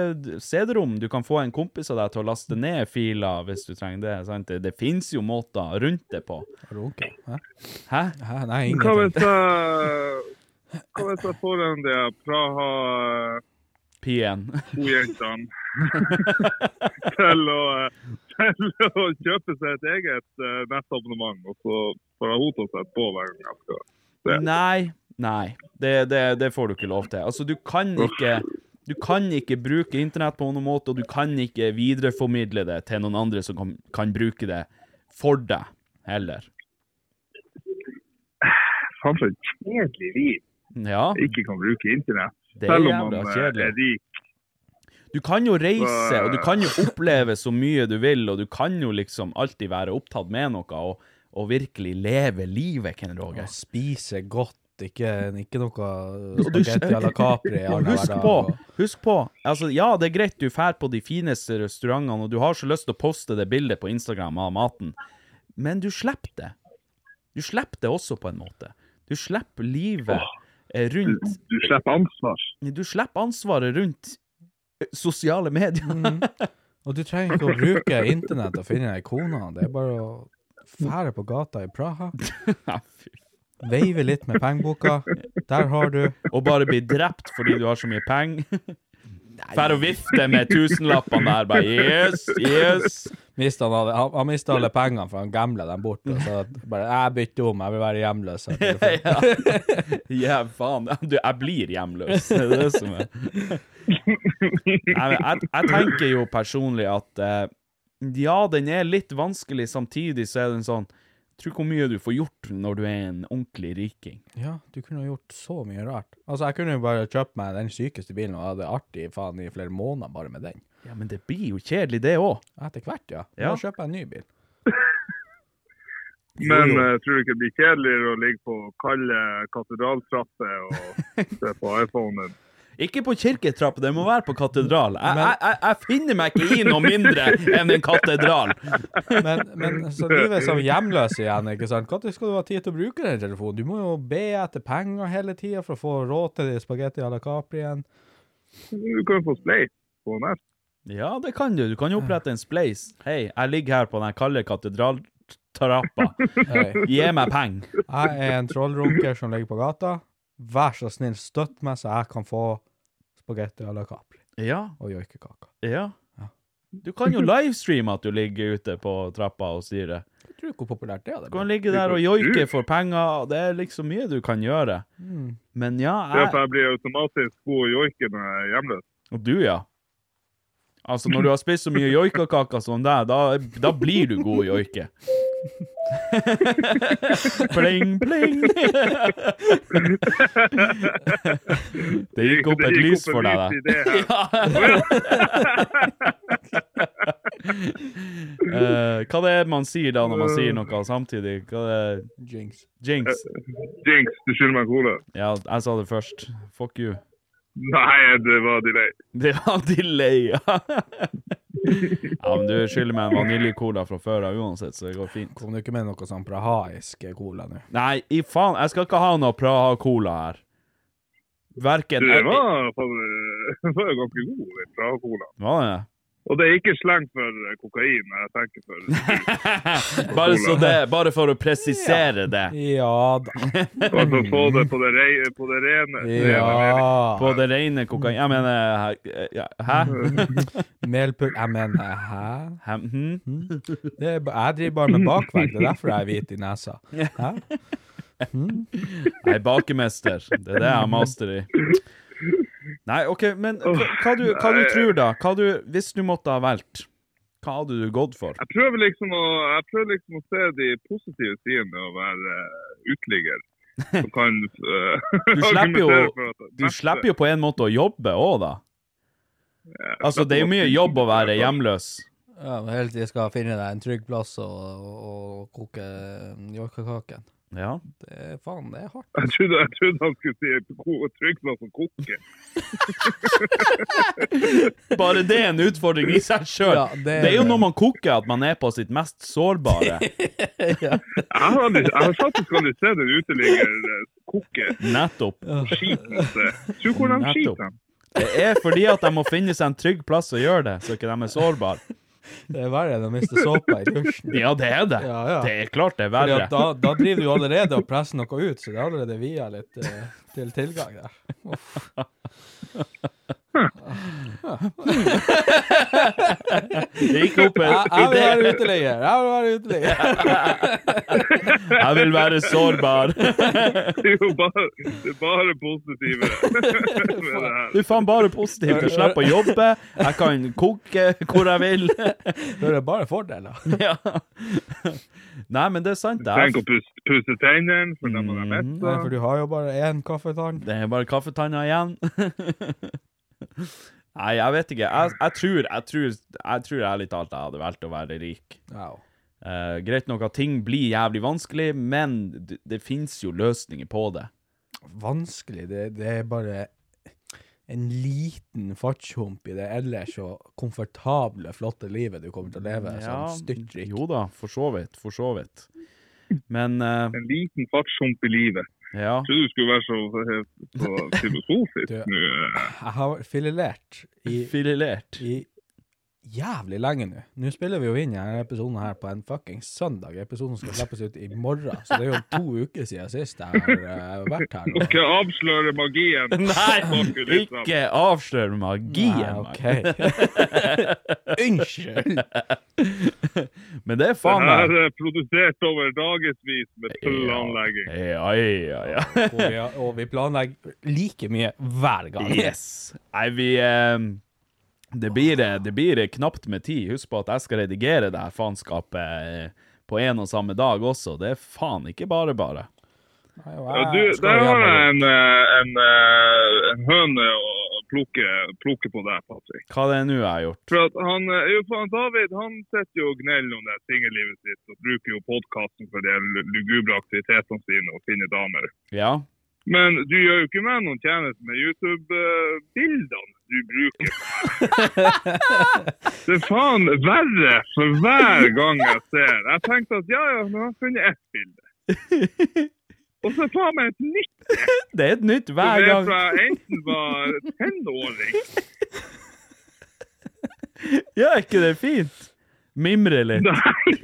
CD-rom, du kan få en kompis av deg til å laste ned filer hvis du trenger det. Sant? Det, det fins jo måter rundt det på. Runke? Hæ? Hæ? Hæ? Nei, Hva hvis ingenting. jeg, hva hvis jeg får en eh, de Praha-to P1. jentene til, å- til å kjøpe seg et eget eh, nettabonnement, og så får jeg hun til å sette på hver gang jeg skal Det- Nei, nei. Det, det, det får du ikke lov til. Altså, du kan ikke du kan ikke bruke internett på noen måte, og du kan ikke videreformidle det til noen andre som kan, kan bruke det for deg, heller. Faen, for et kjedelig liv. Ja, Ikke kan bruke internett. det er Selv om jævla man eh, kjedelig. er rik. Du kan jo reise, og du kan jo oppleve så mye du vil, og du kan jo liksom alltid være opptatt med noe, og, og virkelig leve livet, Ken Å Roger. spise godt, ikke, ikke noe Og du- spagetti à la Capri. Og alle husk hverdager. på, husk på, altså ja, det er greit du fær på de fineste restaurantene, og du har så lyst til å poste det bildet på Instagram av maten, men du slipper det. Du slipper det også på en måte. Du slipper livet eh, rundt, Du slipper ansvar. du slipper ansvaret rundt eh, sosiale medier. Mhm. Og du trenger ikke å bruke internett og finne ei kone. Det er bare å fære på gata i Praha, Ja, fy. veive litt med pengeboka. Der har du og bare bli drept fordi du har så mye penger. Fær og vifte med tusenlappene der, bare yes, yes. Mist han, hadde, han, han mistet alle pengene, for han gambla dem bort. Og så bare 'Jeg bytter om, jeg vil være hjemløs'. her til du får- Ja, ja faen. Du, jeg blir hjemløs. Det er det som er Nei, men jeg, jeg tenker jo personlig at eh, ja, den er litt vanskelig, samtidig så er den sånn Tror ikke hvor mye du får gjort når du er en ordentlig riking. Ja, du kunne ha gjort så mye rart. Altså, jeg kunne jo bare kjøpt meg den sykeste bilen og hatt det artig faen i flere måneder bare med den. Ja, men det blir jo kjedelig, det òg. Etter hvert, ja. Da Ja. kjøper jeg en ny bil. Men eh, tror du ikke det blir kjedeligere å ligge på kalde katedraltrapper og se på iPhonen? Ikke på kirketrapp, det må være på katedral. Jeg, jeg, jeg, jeg finner meg ikke i noe mindre enn en katedral. Men, men så livet som hjemløs igjen, ikke sant. Når skal du ha tid til å bruke den telefonen? Du må jo be etter penger hele tida for å få råd til de spagetti à la Capri igjen. Du kan jo få Splay på nett. Ja, det kan du. Du kan jo opprette en spleis. Hei, jeg ligger her på den kalde katedraltrappa. Hey. Gi meg penger. Jeg er en trollrunker som ligger på gata. Vær så snill, støtt meg, så jeg kan få spagetti à la Capri Ja, og joikekaker. ja. Du kan jo livestreame at du ligger ute på trappa og styrer. Jeg tror ikke hvor populært det hadde Du kan blitt. ligge der og joike for penger, og det er liksom mye du kan gjøre. Men ja, Det er jeg for jeg blir automatisk god joiker når jeg er hjemløs. Og du, ja. Altså, når du har spist så mye joikakaker som deg, da, da blir du god joike. pling, pling. det gikk opp Det et gikk lys opp for et deg, lys i det. det her. Eh, hva det er man sier da, når man sier noe samtidig? Hva det er? Jinx. Jinx. Jinx, du skylder meg en cola. Ja, jeg sa det først. Fuck you. Nei, det var delay. Det var delay, ja. ja, men du skylder meg en vaniljecola fra før av uansett, så det går fint. Kom du ikke med noe sånn prahaisk cola nå? Nei, i faen, jeg skal ikke ha noe Praha-cola her. Verken Du, det var, faen, det var jo ganske god, den fra cola. Var det? Og det er ikke slengt for eh, kokain, jeg tenker for Bare, så det, bare for å presisere det. Ja da. Og så få det på det, rei, på det rene. rene På Ja. det rene kokain... Jeg mener hæ- ja, Hæ? Melpul... Jeg mener, hæ? Hæ? Hm? Det er, ba- jeg driver bare med bakverk, det er derfor jeg er hvit i nesa. Hæ? Jeg er bakemester. Det er det jeg har master i. Nei, OK, men hva, hva, du, hva du tror da? Hva du, hvis du måtte ha valgt, hva hadde du gått for? Jeg prøver liksom å, jeg prøver liksom å se de positive sidene med å være eh, uteligger. Som kan eh, Du slipper jo, du slipper jo på en måte å jobbe òg, da. Altså, det er jo mye jobb å være hjemløs. Ja, men Helt til jeg skal finne deg en trygg plass og, og koke joikakaken. Ja. Det er faen, det er hardt. Jeg trodde, jeg trodde han skulle si ko- trygg plass å koke. Bare det er en utfordring i seg sjøl. Ja, det det, er er jo det. når man koker at man er på sitt mest sårbare. Jeg har, aldri, jeg har faktisk aldri sett en uteligger eh, koke Nettopp. skiten seg. Tro hvor de Nettopp. skiter. Det er fordi at de må finne seg en trygg plass å gjøre det, så ikke de er sårbare. Det er verre enn å miste såpa i dusjen. Ja, det er det. Ja, ja. Det er klart det er Fordi verre. at da, da driver du allerede og presser noe ut, så det er allerede via litt eh, til tilgang der. Uff. Det gikk opp Jeg, en jeg vil idé. være uteligger! Jeg vil være uteligger! Jeg vil være sårbar. Det er jo bare, det er bare positive med det her. Du er faen bare positiv. Du slipper å jobbe. Jeg kan koke hvor jeg vil. Det er bare fordeler. Ja. Nei, men det er sant. Det Tenk er, å puste, puste tennene for dem man er mett Nei, av. Mm, for du har jo bare én kaffetann. det er bare kaffetanna igjen. Nei, jeg vet ikke. Jeg, jeg tror jeg tror, jeg tror ærlig talt jeg hadde valgt å være rik. Ja. Eh, greit nok at ting blir jævlig vanskelig, men det, det fins jo løsninger på det. Vanskelig. Det, det er bare en liten fartshump i det ellers så komfortable, flotte livet du kommer til å leve. Sånn styrtrik. jo da, for så vidt. For så vidt. Men eh, En liten fartshump i livet. ja. Jeg trodde du skulle være så, så filosofisk Du- nå. eh. Jeg har filelert i, Filelert. i jævlig lenge nå. Nå spiller vi jo inn denne episoden her på en fucking søndag. Episoden skal slippes ut i morgen, så det er jo to uker siden sist jeg har eh, vært her. Nå skal jeg avsløre magien. Nei, Bak kulissene. ikke avslør Nei, magien. ok. Mark. Ah, Unnskyld! Men det er Det faen her meg er produsert over dagevis med tullanlegging. Ja, ja, ja. Og vi, har- og vi planlegger like mye hver gang. Yes. Nei, vi eh, det, blir, eh, det blir knapt med tid. Husk på at jeg skal redigere det her faenskapet eh, på en og samme dag også. Det er faen ikke bare, bare. Nei, og Ja, jeg du, skal der har gjerne- jeg en, eh, en, eh, en høne å plukke, plukke på deg, Patrick. Hva det er nå jeg har gjort? For at han, eh, jo, for han David han sitter jo og gneller om det singellivet sitt og bruker jo podkasten for de lugubre aktivitetene sine og finne damer. Ja. Men du gjør jo ikke meg noen tjeneste med YouTube-bildene du bruker. Det er faen verre for hver gang jeg ser. Jeg tenkte at ja, ja, nå har jeg funnet ett bilde. Og så faen meg et nytt Det er et nytt som hver er gang. fra jeg enten var tenåring Ja, er ikke det fint? Mimre litt. Nei! det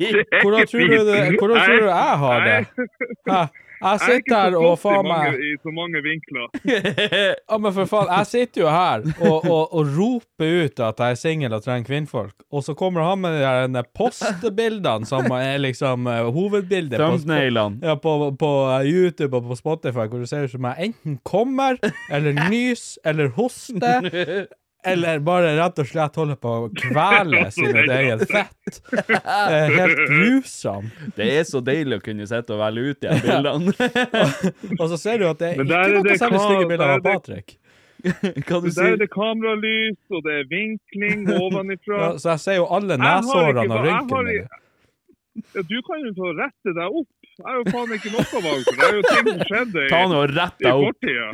er Hvordan ikke tror du, det, fint. hvordan tror du jeg har Nei, det? Hæ? Jeg Jeg er ikke sitter her så og flott faen i, meg mange, i så mange vinkler. Ja, men for faen, jeg sitter jo her og, og, og roper ut at jeg er singel og trenger kvinnfolk, og så kommer han med de der ene postbildene som er liksom eh, hovedbildet på, på, Thumbnailene. ja, på, på eh, YouTube og på Spotify, hvor det ser ut som jeg enten kommer, eller nys, eller hoster, eller bare rett og slett holder på å kvele sin eget fett. Det er helt grusomt. Det er så deilig å kunne sitte og velge ut de her bildene. Og så ser du at det er Men der er ikke noe det særlig ka- stygge bilder der er av det- Patrick. Hva du Der er sier? det kameralys, og det er vinkling ovenifra. Ja, så jeg ser jo alle Jeg har neshårene ikke- og jeg rynkene har mine. ikke- Ja, du kan jo få rette deg opp. Jeg har jo faen ikke noe valg, for det er jo ting som skjedde Ta nå i, og rett i deg opp. fortida.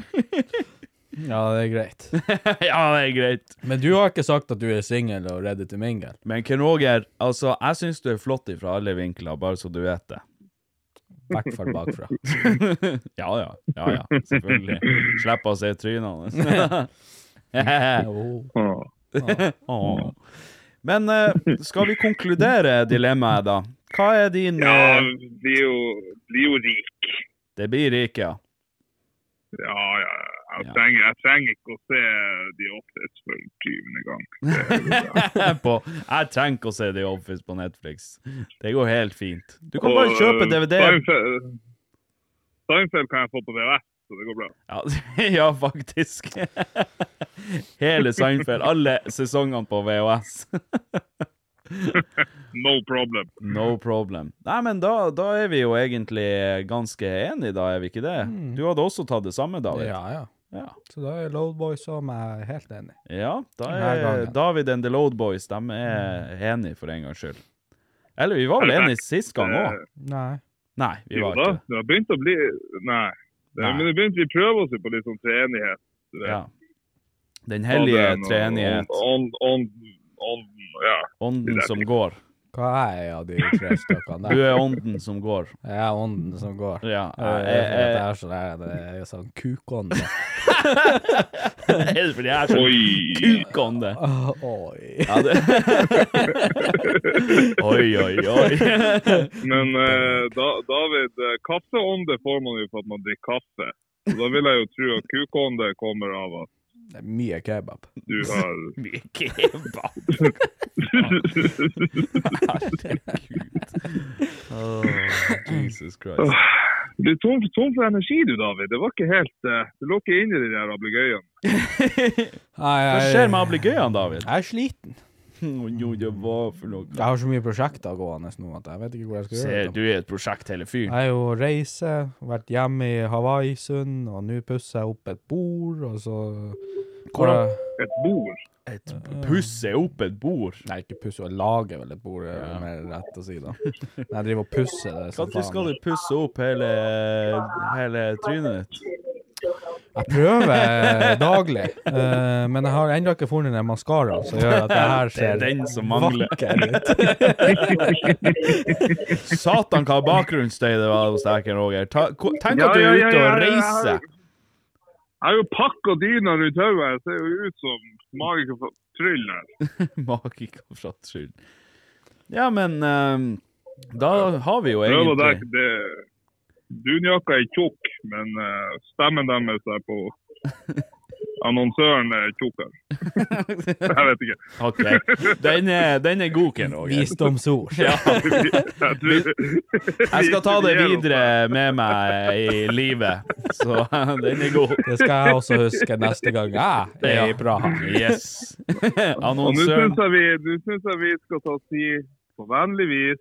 Ja, det er greit. Ja, det er greit. Men du har ikke sagt at du er singel og ready to mingle. Men Ken Roger, altså, jeg syns du er flott ifra alle vinkler, bare så du vet det. I hvert fall bakfra. ja, ja. Ja, ja. Selvfølgelig. Slipp å se trynene. Jo. Åh. Åh. Men eh, skal vi konkludere dilemmaet, da? Hva er din Ja, eh, blir jo, blir jo rik. Det blir ikke, ja. Ja, ja. ja. Jeg Ja. trenger, jeg trenger ikke å se The Office for 20. gang. på, jeg trenger ikke å se The Office på Netflix. Det går helt fint. Du kan bare kjøpe DVD. eh, Seinfeld, Seinfeld kan jeg få på VHS, så det går bra. Ja, ja faktisk. Hele Seinfeld. Alle sesongene på VHS. No problem. No problem. Nei, men da, da er vi jo egentlig ganske enige, da, er vi ikke det? Du hadde også tatt det samme, David? Ja, ja. Mm. Ja, Så da er Load Boys og meg helt enig. ja da Hver gang, er ja. David and The Load Boys de er enige, for en gangs skyld. Eller vi var vel enige sist gang òg? Nei. Nei, vi Eh, Jo var da, ikke det. det har begynt å bli Nei. Det, Nei. Men det begynte vi prøver oss jo på litt sånn treenighet. eh, Ja. Den hellige treenighet. On, on, on, ja. Ånden som går. Hva er jeg av de tre stykkene Du der? er ånden som går. Jeg er ånden som går. Ja, Eh, Jeg, jeg- jeg- det er sånn der, det er jo sånn kukånde. Er det fordi jeg er så Oi! kukånde? Oi. Ja, det... Oi, oi, oi. Men eh, da, David, eh, kaffeånde får man jo for at man drikker kaffe. Så da vil jeg jo tro at kukånde kommer av at Det er mye kebab. du har Mye kebab. Herregud. Oh, Jesus Christ. Du er tom, tom for energi du, David. Det var ikke helt eh, Du lå ikke inne i de der ablegøyene. Nei, Hva jeg- skjer med ablegøyene, David? Jeg er sliten. Jo, det var for noe Jeg har så mye prosjekter gående nå at jeg vet ikke hvor jeg skal gjøre Se, det. du er et prosjekt, hele fyren. Jeg er jo reise, vært hjemme i Hawaii-sund, og nå pusser jeg opp et bord, og så Hvordan- Et bord. Et pusse opp et bord. Nei, ikke pusse, jeg lager vel et bord, er vel mer rett å si, da. Men jeg driver og pusser det som Når skal faen. du pusse opp hele, hele trynet ditt? Jeg prøver daglig, eh, men jeg har ennå ikke funnet den maskaraen som gjør at det her Det er ser den som mangler. vakker ut. Satan, hva bakgrunnsstøy det var hos deg, Ken Roger. Ta, ko- tenk Ja, at du er ja, ja, ute ja, og ja, ja. reiser. Jeg har jo pakka dyna rundt hodet. Jeg ser jo ut som magiker for tryll her. Magika fra Trud. Ja, men ehm, da har vi jo Prøv å egentlig dekke det. Dunjakka er tjukk, men eh, stemmen deres er på Annonsøren er tjukkere. Jeg vet ikke. OK. Den er, den er god, Ken Roger. Visdomsord. Ja, Jeg jeg tror- skal ta det altså. Vi- vi gir oss videre med meg i livet, så den er god. Det skal jeg også huske neste gang jeg er i Praha. Yes. Og nå Annonsøren syns jeg, vi- nå synes jeg vi skal ta og si på vennlig vis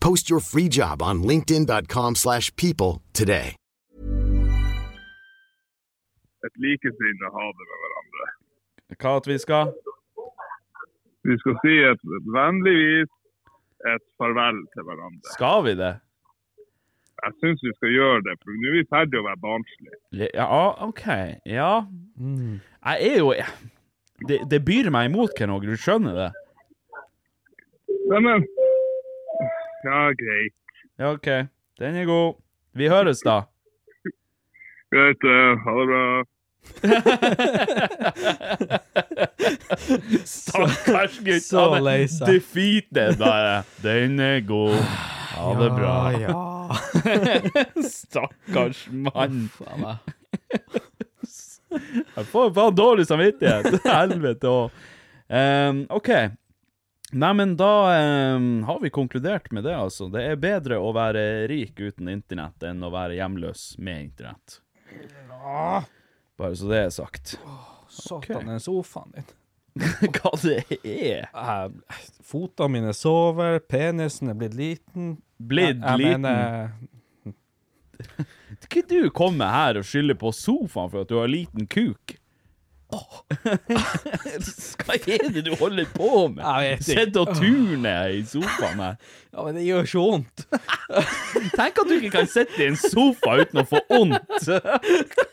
Post your free job on linkedin.com/people slash people today. et likesinne ha det med hverandre. Hva at vi skal? Vi skal si et vennlig vis et farvel til hverandre. Skal vi det? Jeg syns vi skal gjøre det, for nå er vi ferdig å være barnslige. Ja, ah, OK. Ja. Mm. Jeg er jo Det, det byr meg imot, Ken Roger. Du skjønner det? Nei, men Ja, greit. Ja, OK. Den er god. Vi høres, da. Greit, eh, ha det bra. Stakkars gutt. så Han er lei seg. Defeated, bare. Den er god. Ha det bra. Ah, Ja. Stakkars mann. Jeg får faen dårlig samvittighet. Helvete òg. Um, OK. Nei, men da um, har vi konkludert med det, altså. Det er bedre å være rik uten internett enn å være hjemløs med internett. Bare så det er sagt. Satan, den sofaen din. Hva det er? Eh, Fotene mine sover, penisen er blitt liten. Blitt Jeg- jeg liten? Mener, Ikke du komme her og skylde på sofaen for at du har liten kuk. Hva er det du holder på med? Jeg vet ikke. Sitt og turne i sofaen her. ja, men det gjør så vondt. Tenk at du ikke kan sitte i en sofa uten å få vondt.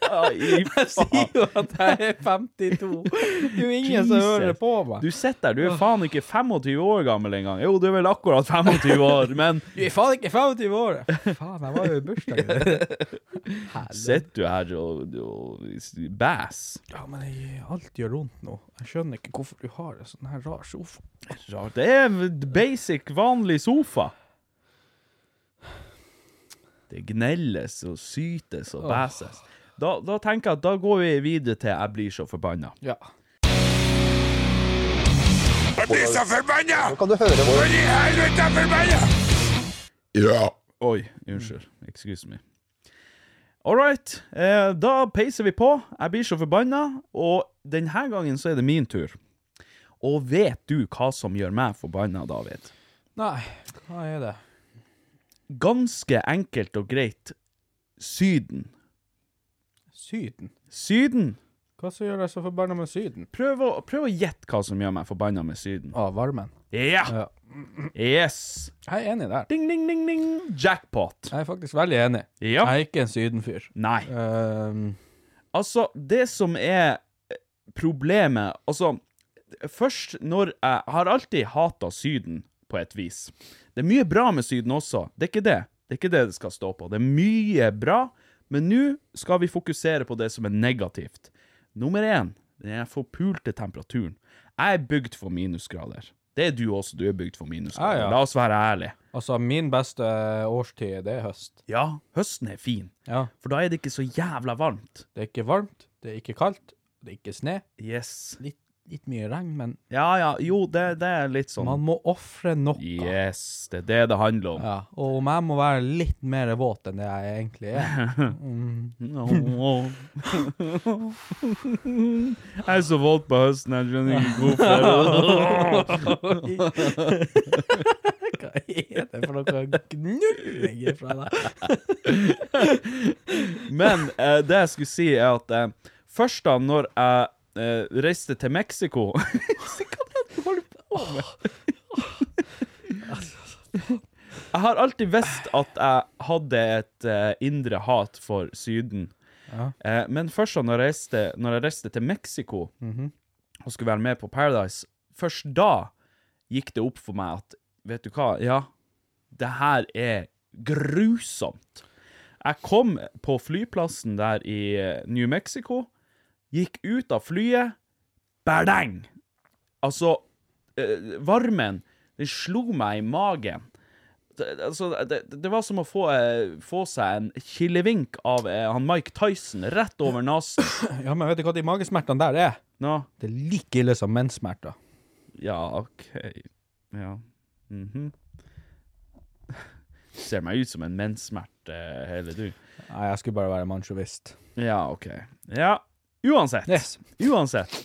Ai, faen. Sier jo at jeg er 52. Det er jo ingen som Jesus. hører på meg. Du sitter der, du er faen ikke 25 år gammel engang. Jo, du er vel akkurat 25 år, men Du er faen ikke 25 år! Faen, jeg var jo i bursdagen din. sitter du her og, og bæs? Ja, men jeg, alt gjør vondt nå. Jeg skjønner ikke hvorfor du har en sånn her rar sofa. Rart. Det er en basic, vanlig sofa. Det gnelles og sytes og bæses. Da, da tenker jeg at da går vi videre til 'Jeg blir så forbanna'. Ja. Oi, unnskyld. Excuse me. All right. Eh, da peiser vi på. Jeg blir så forbanna, og denne gangen så er det min tur. Og vet du hva som gjør meg forbanna, David? Nei, hva er det? Ganske enkelt og greit Syden. Syden? Syden! Hva som gjør deg så forbanna med Syden? Prøv å, prøv å gjette hva som gjør meg forbanna med Syden. Å, varmen. Ja! Ja. Yes! Jeg er enig der. Ding, ding, ding, ding. Jackpot. Jeg er faktisk veldig enig. Ja. Jeg er ikke en Syden-fyr. Nei. Ehm, Altså, det som er eh, problemet Altså, først når Jeg har alltid hata Syden, på et vis. Det er mye bra med Syden også, det er ikke det. Det er ikke det det skal stå på. Det er mye bra, men nå skal vi fokusere på det som er negativt. Nummer én, den forpulte temperaturen. Jeg er bygd for minusgrader. Det er du også, du er bygd for minusgrader. Ja, ja. La oss være ærlige. altså, min beste eh, årstid, det er høst. Ja, høsten er fin, Ja. for da er det ikke så jævla varmt. Det er ikke varmt, det er ikke kaldt, det er ikke sne. Yes. Litt, litt mye regn, men Ja, ja, jo, det, det er litt sånn man må ofre noe. Yes, det er det det handler om. Ja, og om jeg må være litt mer våt enn det jeg egentlig er. Åh. Jeg er så våt på høsten, jeg skjønner ikke hvorfor. Hva er det for noe gnulling fra deg? Men eh, det jeg skulle si, er at eh, først da når jeg eh, reiste til Mexico Jeg har alltid visst at jeg hadde et eh, indre hat for Syden. Eh, men først da når jeg reiste, når jeg reiste til Mexico og skulle være med på Paradise, først da gikk det opp for meg at Vet du hva? Ja, det her er grusomt. Jeg kom på flyplassen der i eh, New Mexico, gikk ut av flyet, berdeng! Altså, eh, varmen, den slo meg i magen det, altså, det, det var som å få, eh, få seg en kilevink av eh, han Mike Tyson rett over nesen. Ja, men vet du hva de magesmertene der er? Nå, Det er like ille som menssmerter. ja, OK Ja. mhm. Ser meg ut som en menssmerte, eh, hele du. Nei, jeg skulle bare være mannsjovist. Ja, OK. Ja, uansett. Yes. Uansett.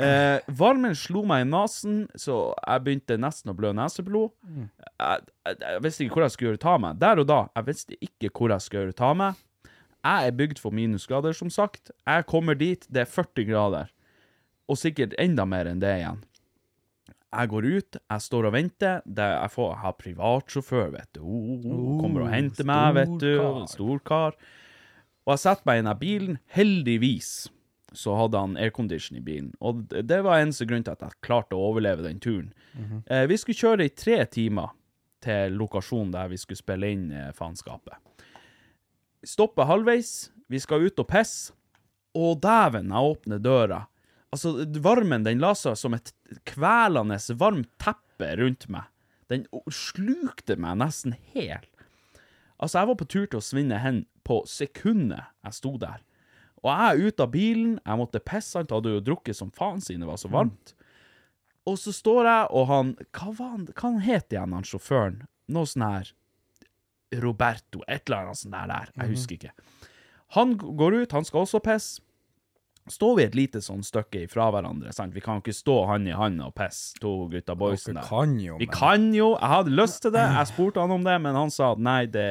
Eh, varmen slo meg i nesen, så jeg begynte nesten å blø neseblod. Jeg, jeg, jeg visste ikke hvor jeg skulle ta meg. Der og da, jeg visste ikke hvor jeg skulle ta meg. Jeg er bygd for minusgrader, som sagt. Jeg kommer dit, det er 40 grader. Og sikkert enda mer enn det igjen. Jeg går ut, jeg står og venter. Det, jeg får ha privatsjåfør, vet du. Oh, kommer og henter meg, vet du. kar. Stor kar. Og jeg setter meg i denne bilen. Heldigvis så hadde han aircondition i bilen. Og det- det var eneste grunn til at jeg klarte å overleve den turen. eh, vi skulle kjøre i tre timer til lokasjonen der vi skulle spille inn eh, Faenskapet. Stopper halvveis, vi skal ut og pisse. Å, dæven, jeg åpner døra. Altså, varmen den la seg som et kvelende varmt teppe rundt meg. Den o- slukte meg nesten helt. Altså, jeg var på tur til å svinne hen på sekundet jeg sto der. Og jeg er ute av bilen, jeg måtte pisse, sant, hadde jo drukket som faen siden det var så varmt. Og så står jeg og han Hva, var han, hva han het igjen, han sjåføren? Noe sånn her Roberto, et eller annet sånt der. der. Jeg husker ikke. Han g- går ut, han skal også pisse. Står vi et lite sånn stykke ifra hverandre, sant? Vi kan jo ikke stå hand i hand og pisse, to gutta boysen der. kan jo, Vi kan jo, jeg hadde lyst til det, jeg spurte han om det, men han sa at nei, det,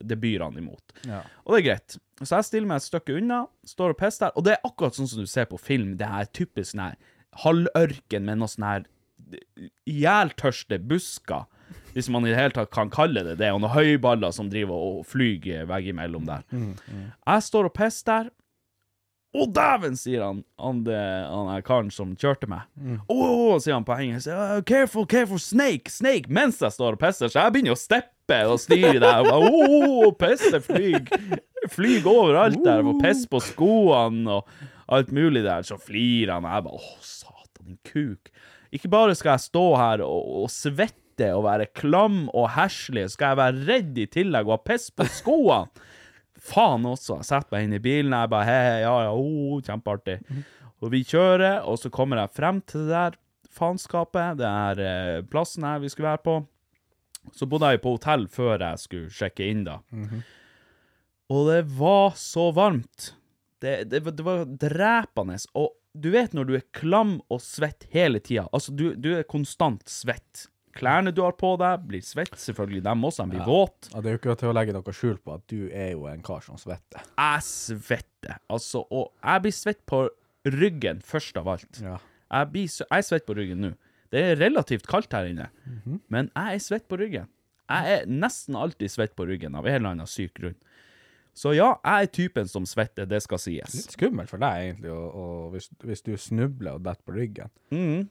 det byr han imot. Ja. Og det er greit. Så jeg stiller meg et stykke unna, står og pisser der, og det er akkurat sånn som du ser på film, det her typisk sånn her halvørken med noe sånn her jæltørste busker, hvis man i det hele tatt kan kalle det det, og noen høyballer som driver og flyger veggimellom der. Jeg står og pisser der. Å, dæven, sier han, han, det, han er karen som kjørte meg. Å, å, sier han på engelsk. «Uh, careful, careful, snake, snake, mens jeg står og pisser. Så jeg begynner å steppe og styre der. Og bare, Å, å, å, pisse, flyg. Flyg overalt der. Og piss på skoene og alt mulig der. Så flirer han, og jeg bare Å, satan, din kuk. Ikke bare skal jeg stå her og, og svette og være klam og herslig, skal jeg være redd i tillegg og ha piss på skoene. Faen også. Jeg setter meg inn i bilen, jeg bare hei, hei, ja, ja, oh, kjempeartig. Og vi kjører, og så kommer jeg frem til det der faenskapet, det her eh, plassen her vi skulle være på. Så bodde jeg på hotell før jeg skulle sjekke inn, da. Og det var så varmt. Det, det, var- det var drepende. Og du vet når du er klam og svett hele tida. Altså, du, du er konstant svett. Klærne du har på deg, blir svett. Selvfølgelig dem også, de blir våt. Ja, det er jo ikke til å legge noe skjul på at du er jo en kar som svetter. Jeg svetter. Altså, og jeg blir svett på ryggen først av alt. Ja. Jeg, blir, så- jeg er svett på ryggen nå. Det er relativt kaldt her inne, Mhm. men jeg er svett på ryggen. Jeg er nesten alltid svett på ryggen av en eller annen syk grunn. Så ja, jeg er typen som svetter, det skal sies. Litt skummelt for deg, egentlig, å- å- hvis, hvis du snubler og detter på ryggen.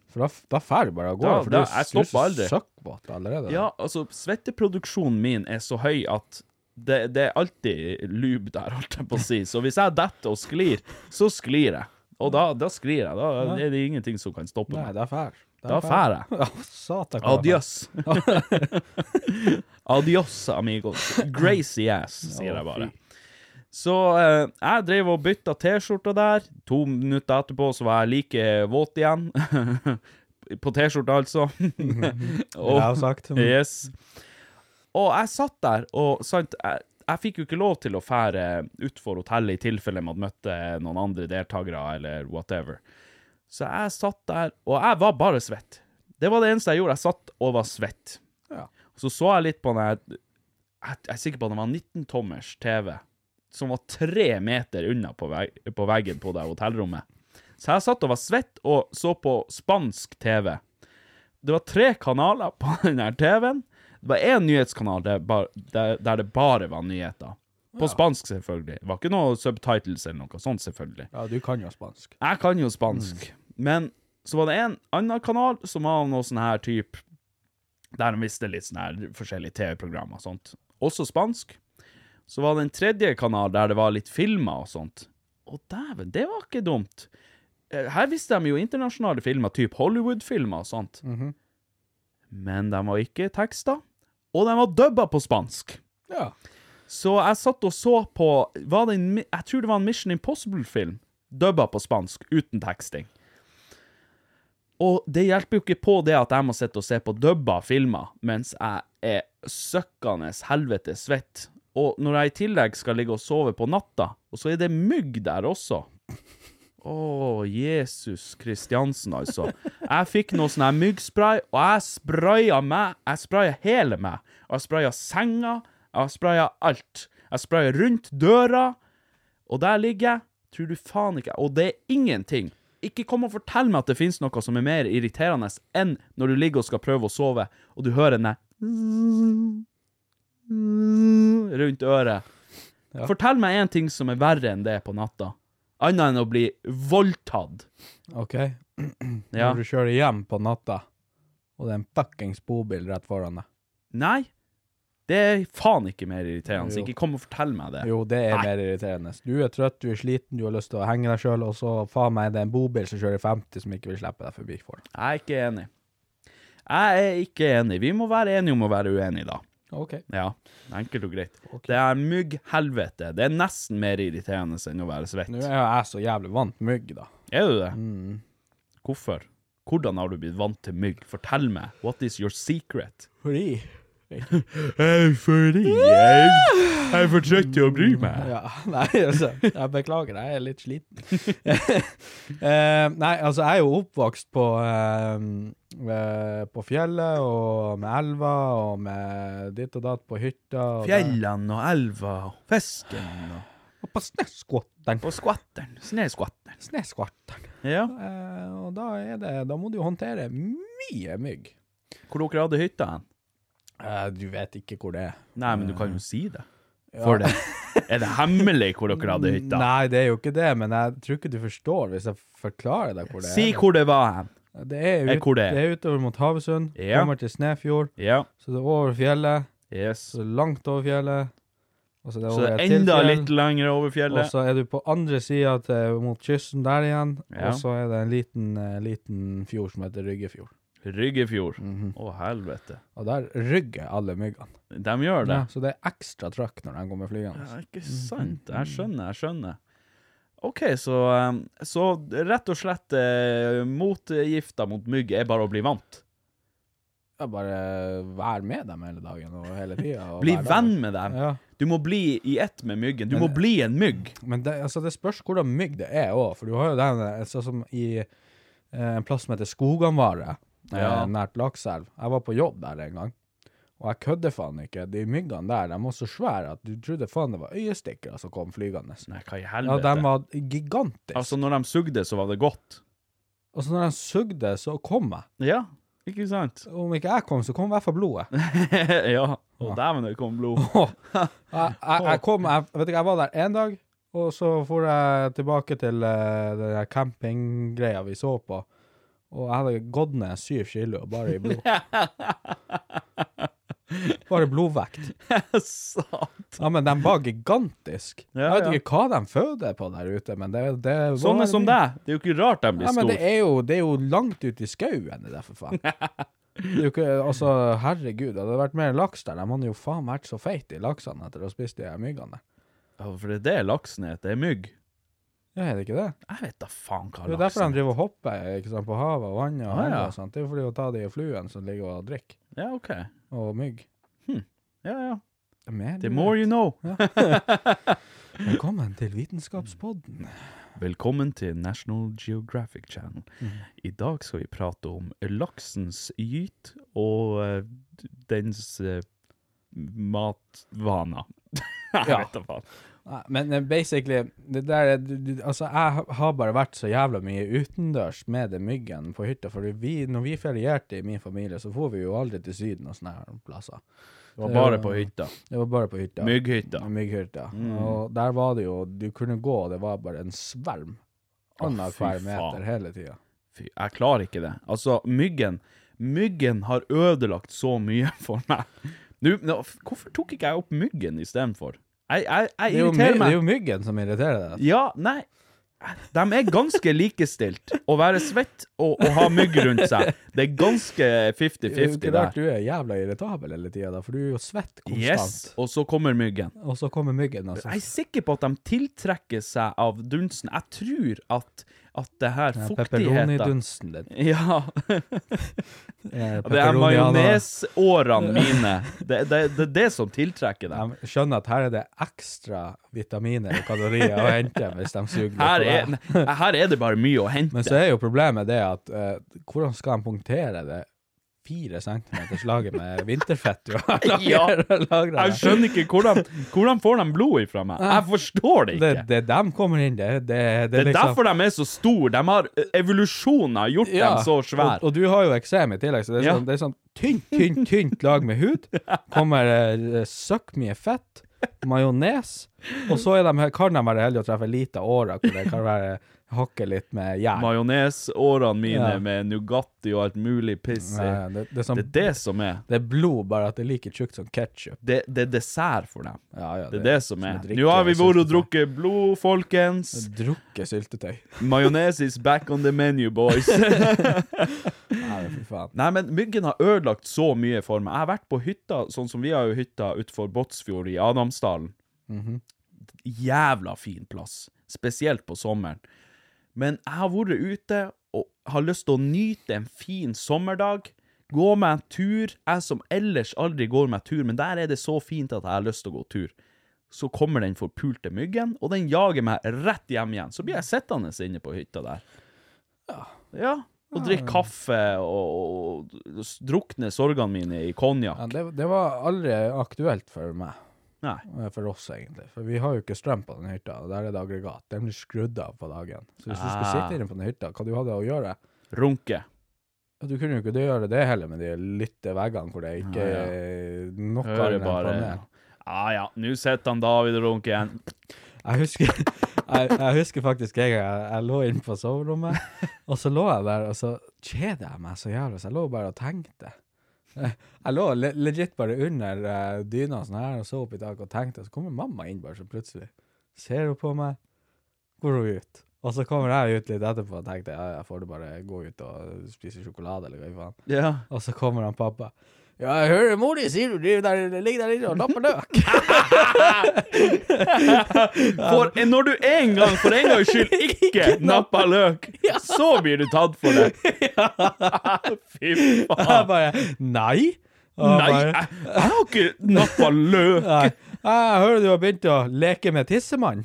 For da, da fær du bare av gårde, Mm. Da- for da- du, jeg du er så stopper aldri. søkkvåt allerede. Ja, altså, svetteproduksjonen min er så høy at det, det er alltid lube der, holdt jeg på å si. Så hvis jeg detter og sklir, så sklir jeg. Og da, da sklir jeg. Da er det ingenting som kan stoppe Nei, meg. da fær. Da fær jeg. Ja, satan. hva jeg fær. Adios. Adios, amigos. Gracy ass, sier jeg bare. Så eh, jeg drev og bytta T-skjorta der. To minutter etterpå så var jeg like våt igjen. På T-skjorta, altså. Ville jeg ha sagt. Yes. Og jeg satt der, og sant, jeg, jeg fikk jo ikke lov til å fære utfor hotellet i tilfelle man møtte noen andre deltakere eller whatever. Så jeg satt der, og jeg var bare svett. Det var det eneste jeg gjorde. Jeg satt og var svett. Ja. Så så jeg litt på den her Jeg jeg er sikker på at det var 19-tommers TV, som var tre meter unna på, veg, på veggen på det hotellrommet. Så jeg satt og var svett og så på spansk TV. Det var tre kanaler på den her TV-en. Det var én nyhetskanal der, bar- der, der det bare var nyheter. På spansk, selvfølgelig. Det var ikke noe subtitles eller noe sånt, selvfølgelig. Ja, du kan jo spansk. Jeg kan jo spansk, men så var det en annen kanal som var noe sånn her typ, der de visste litt sånn her forskjellige TV-programmer og sånt. Også spansk. Så var det en tredje kanal der det var litt filmer og sånt. Å dæven, det var ikke dumt. Eh, Her visste de jo internasjonale filmer, typ Hollywood-filmer og sånt. Men de var ikke tekster, og de var dubba på spansk. Ja. Så jeg satt og så på var det en, mi- Jeg tror det var en Mission Impossible-film, dubba på spansk, uten teksting. Og det hjelper jo ikke på det at jeg må sitte og se på dubba filmer mens jeg er søkkende helvete svett. Og når jeg i tillegg skal ligge og sove på natta, og så er det mygg der også. Å, Jesus Kristiansen, altså. Jeg fikk noe sånn her myggspray, og jeg spraya meg. Jeg spraya hele meg. Og jeg spraya senga. Jeg spraya alt. Jeg spraya rundt døra, og der ligger jeg. Tror du faen ikke Og det er ingenting. Ikke kom og fortell meg at det finnes noe som er mer irriterende enn når du ligger og skal prøve å sove, og du hører den der rundt øret. Fortell meg én ting som er verre enn det på natta. Annet enn å bli voldtatt. OK. Ja. Når du kjører hjem på natta, og det er en fuckings bobil rett foran deg. Nei, det er faen ikke mer irriterende. Jo. Ikke kom og fortell meg det. Jo, det er Nei. mer irriterende. Du er trøtt, du er sliten, du har lyst til å henge deg sjøl, og så faen meg, det er en bobil som kjører 50 som ikke vil slippe deg forbi for det. Jeg er ikke enig. Jeg er ikke enig. Vi må være enige om å være uenige, da. OK. Ja, enkelt og greit. Det er mygghelvete. Det er nesten mer irriterende enn å være svett. Mm. Nå er jo jeg så jævlig vant mygg, da. Er du det? Hvorfor? Hvordan har du blitt vant til mygg? Fortell meg. What is your secret? Fordi Fordi jeg, jeg er for trøtt til å bry meg. Ja, nei, altså, jeg beklager, jeg er litt sliten. Eh, nei, altså, jeg er jo oppvokst på, eh, eh, på fjellet, og med elva, og med ditt og datt på hytta. og der. Fjellene og elva og fisken og Og på snøskvatteren. På skvatteren. Snøskvatteren. Snøskvatteren. Ja. Eh, og da er det, da må du jo håndtere mye mygg. Hvor dere hadde hytta hen? Eh, du vet ikke hvor det er. Nei, men du kan jo si det. For det. Er det hemmelig hvor dere hadde hytta? Nei, det er jo ikke det, men jeg tror ikke du forstår hvis jeg forklarer deg hvor det Si er. hvor det var hen. Det er, Eh, ut, hvor det det er. er utover mot Havøysund, Ja. kommer til Snefjord, Ja. så det er over fjellet, Yes. så langt over fjellet, og så det er Så over det er et enda tilfjell, litt lenger over og fjellet. så er du på andre siden til, mot kysten der igjen, Ja. og så er det en liten, eh, liten fjord som heter Ryggefjord. Ryggefjord. Å, helvete. Og der rygger alle myggene. De gjør det. Ja, så det er ekstra trøkk når de kommer flygende. Ja, ikke sant. Jeg skjønner, jeg skjønner. OK, så, um, så rett og slett eh, motgifta mot mygg er bare å bli vant. Ja, bare vær med dem hele dagen og hele tida. og Bli hver dag. venn med dem. Ja. Du må bli i ett med myggen. Du må bli en mygg. Men det, altså, det spørs hvordan mygg det er òg, for du har jo den eh, sånn som i eh, en plass som heter Skoganvare, Ja. eh, nært Lakselv. Jeg var på jobb der en gang, og jeg kødder faen ikke. De myggene der de var så svære at du trodde faen det var øyestikkere som kom flygende. Nei, hva i Ja, helvete? de var gigantiske. Altså, når de sugde, så var det godt. og så når de sugde, så kom jeg. Ja, ikke sant? Om ikke jeg kom, så kom i hvert fall blodet. ja. Å, dæven, det kom blod. jeg, jeg, jeg kom, jeg, vet ikke, jeg var der én dag, og så for jeg tilbake til eh, den der campinggreia vi så på. Og jeg hadde gått ned syv kilo bare i blod. Bare blodvekt. Sant. Ja, men de var gigantiske. Ja, jeg vet ikke hva de føder på der ute, men det, det Sånne som deg. Det er jo ikke rart de blir Ja, men det store. er jo, det er jo langt ut i skauen, det der, for faen. Det er jo ikke, altså, herregud, hadde det vært mer laks der, de hadde jo faen vært så feite i laksene etter å ha spist de her myggene der. Ja, for det er det laksen er. Det er mygg. Ja, er det ikke det? Jeg vet da faen hva Det er jo derfor de laksen er. driver og hopper ikke sant, på havet og vannet og Ah, ah, ja. og sånt. Det er jo fordi å ta de fluene som ligger og drikker, Ja, OK. og mygg. Ja, ja. Mer The du more you vet. know. Velkommen til Vitenskapspodden. Velkommen til National Geographic Channel. Mhm. I dag skal vi prate om laksens gyt og eh, d- dens eh, matvaner. Jeg Ja. vet da faen. Nei, Men eh, basically, det der er du- du- Altså, jeg ha- har bare vært så jævla mye utendørs med det myggen på hytta, for vi, når vi ferierte i min familie, så for vi jo aldri til Syden og sånne her plasser. Det var bare på hytta. Det var bare på hytta. Mygghytta. Mm. Mygghytta. Og der var det jo Du kunne gå, og det var bare en sverm. Å, Annenhver fy faen. meter hele tida. Fy, jeg klarer ikke det. Altså, myggen Myggen har ødelagt så mye for meg. Nå, nå, f- hvorfor tok ikke jeg opp myggen istedenfor? Jeg, jeg, Det jeg er, jo my, irriterer det meg. er jo myggen som irriterer deg. Ja, nei De er ganske likestilt Å være svett og, og ha mygg rundt seg Det er ganske Det er jo 50-50 ikke rart der du er jævla irritabel hele tida, for du er jo svett konstant. Yes, og så kommer myggen Og så kommer myggen, altså. Jeg er sikker på at de tiltrekker seg av dunsen Jeg tror at, at det her Ja, fuktigheten Pepperoni-dunsten Eh, din. Ja, Eh, det er pepperoniana. majonesårene mine det, det, det er det som tiltrekker dem De skjønner at her er det ekstra vitaminer og kalorier å hente hvis de suger litt på her det. er, nei, her er det bare mye å Men hente så er jo problemet det at eh, hvordan skal de punktere det fire centimeters laget med vinterfett du har Ja. lagra? Jeg skjønner ikke hvordan, hvordan får de blod ifra meg Jeg forstår det Det ikke er det de kommer inn, det, det, det, Det er liksom- derfor de er så store. De har eh, evolusjonen har gjort Ja, dem så svære. Og, og du har jo eksem i tillegg, så det er Ja. sånn, det er sånn tynt, tynt, tynt lag med hud. Kommer eh, søkk mye fett, majones, og så er de, kan de være heldige å treffe en liten åre hvor det kan være hakke litt med jern. Majonesårene mine Ja. med Nugatti og alt mulig piss i. Eh, det, det, er sånn, Det er det som er. det er blod, bare at det er like tjukt som ketsjup. Det, det er dessert for dem. Ja, ja, Det er det som er. drikke liksom. Nå har vi vært og syltetøy. drukket blod, folkens. Drukke syltetøy. Majones is back on the menu, boys. Nei, fy faen. Nei, men myggen har ødelagt så mye for meg. Jeg har vært på hytta, sånn som vi har jo hytta utenfor Båtsfjord i Adamsdalen. Jævla fin plass, spesielt på sommeren. Men jeg har vært ute, og har lyst til å nyte en fin sommerdag, gå meg en tur Jeg som ellers aldri går meg tur, men der er det så fint at jeg har lyst til å gå tur. Så kommer den forpulte myggen, og den jager meg rett hjem igjen. Så blir jeg sittende inne på hytta der. Ja. Og drikke kaffe og, og, og s- drukne sorgene mine i konjakk. Ja, det, det var aldri aktuelt for meg. Nei. Eh, For oss, egentlig. For vi har jo ikke strøm på den hytta. Der er det aggregat. Den blir skrudd av på dagen. Så hvis du skulle Ah. sitte inne på den hytta, hva du hadde å gjøre? Runke. Ja, Du kunne jo ikke gjøre det heller med de lytte veggene hvor det ikke Ah, ja. er noe Hører annet enn bare panel. Ja ja, nå sitter han David og runker igjen. Jeg husker, jeg, jeg husker faktisk en gang jeg, jeg lå inne på soverommet, og så lå jeg der, og så kjeder jeg meg så jævlig, så jeg lå bare og tenkte. Jeg jeg lå le legit bare under eh, dyna og sånn her, og så opp i taket og tenkte, og så kommer mamma inn bare så plutselig. Ser hun på meg, går hun ut. Og så kommer jeg ut litt etterpå og tenkte, ja, jeg får det bare gå ut og spise sjokolade, eller hva faen. Ja. Og så kommer han pappa. Ja, jeg hører mor di sier du driver der, ligger der inne og lapper løk. For når du en gang, for en gangs skyld, ikke napper løk, så blir du tatt for det. Fy Jeg faen. bare, nei. Og jeg Nei, bare- jeg, jeg har ikke nappa løk. Nei. Jeg hører du har begynt å leke med tissemann.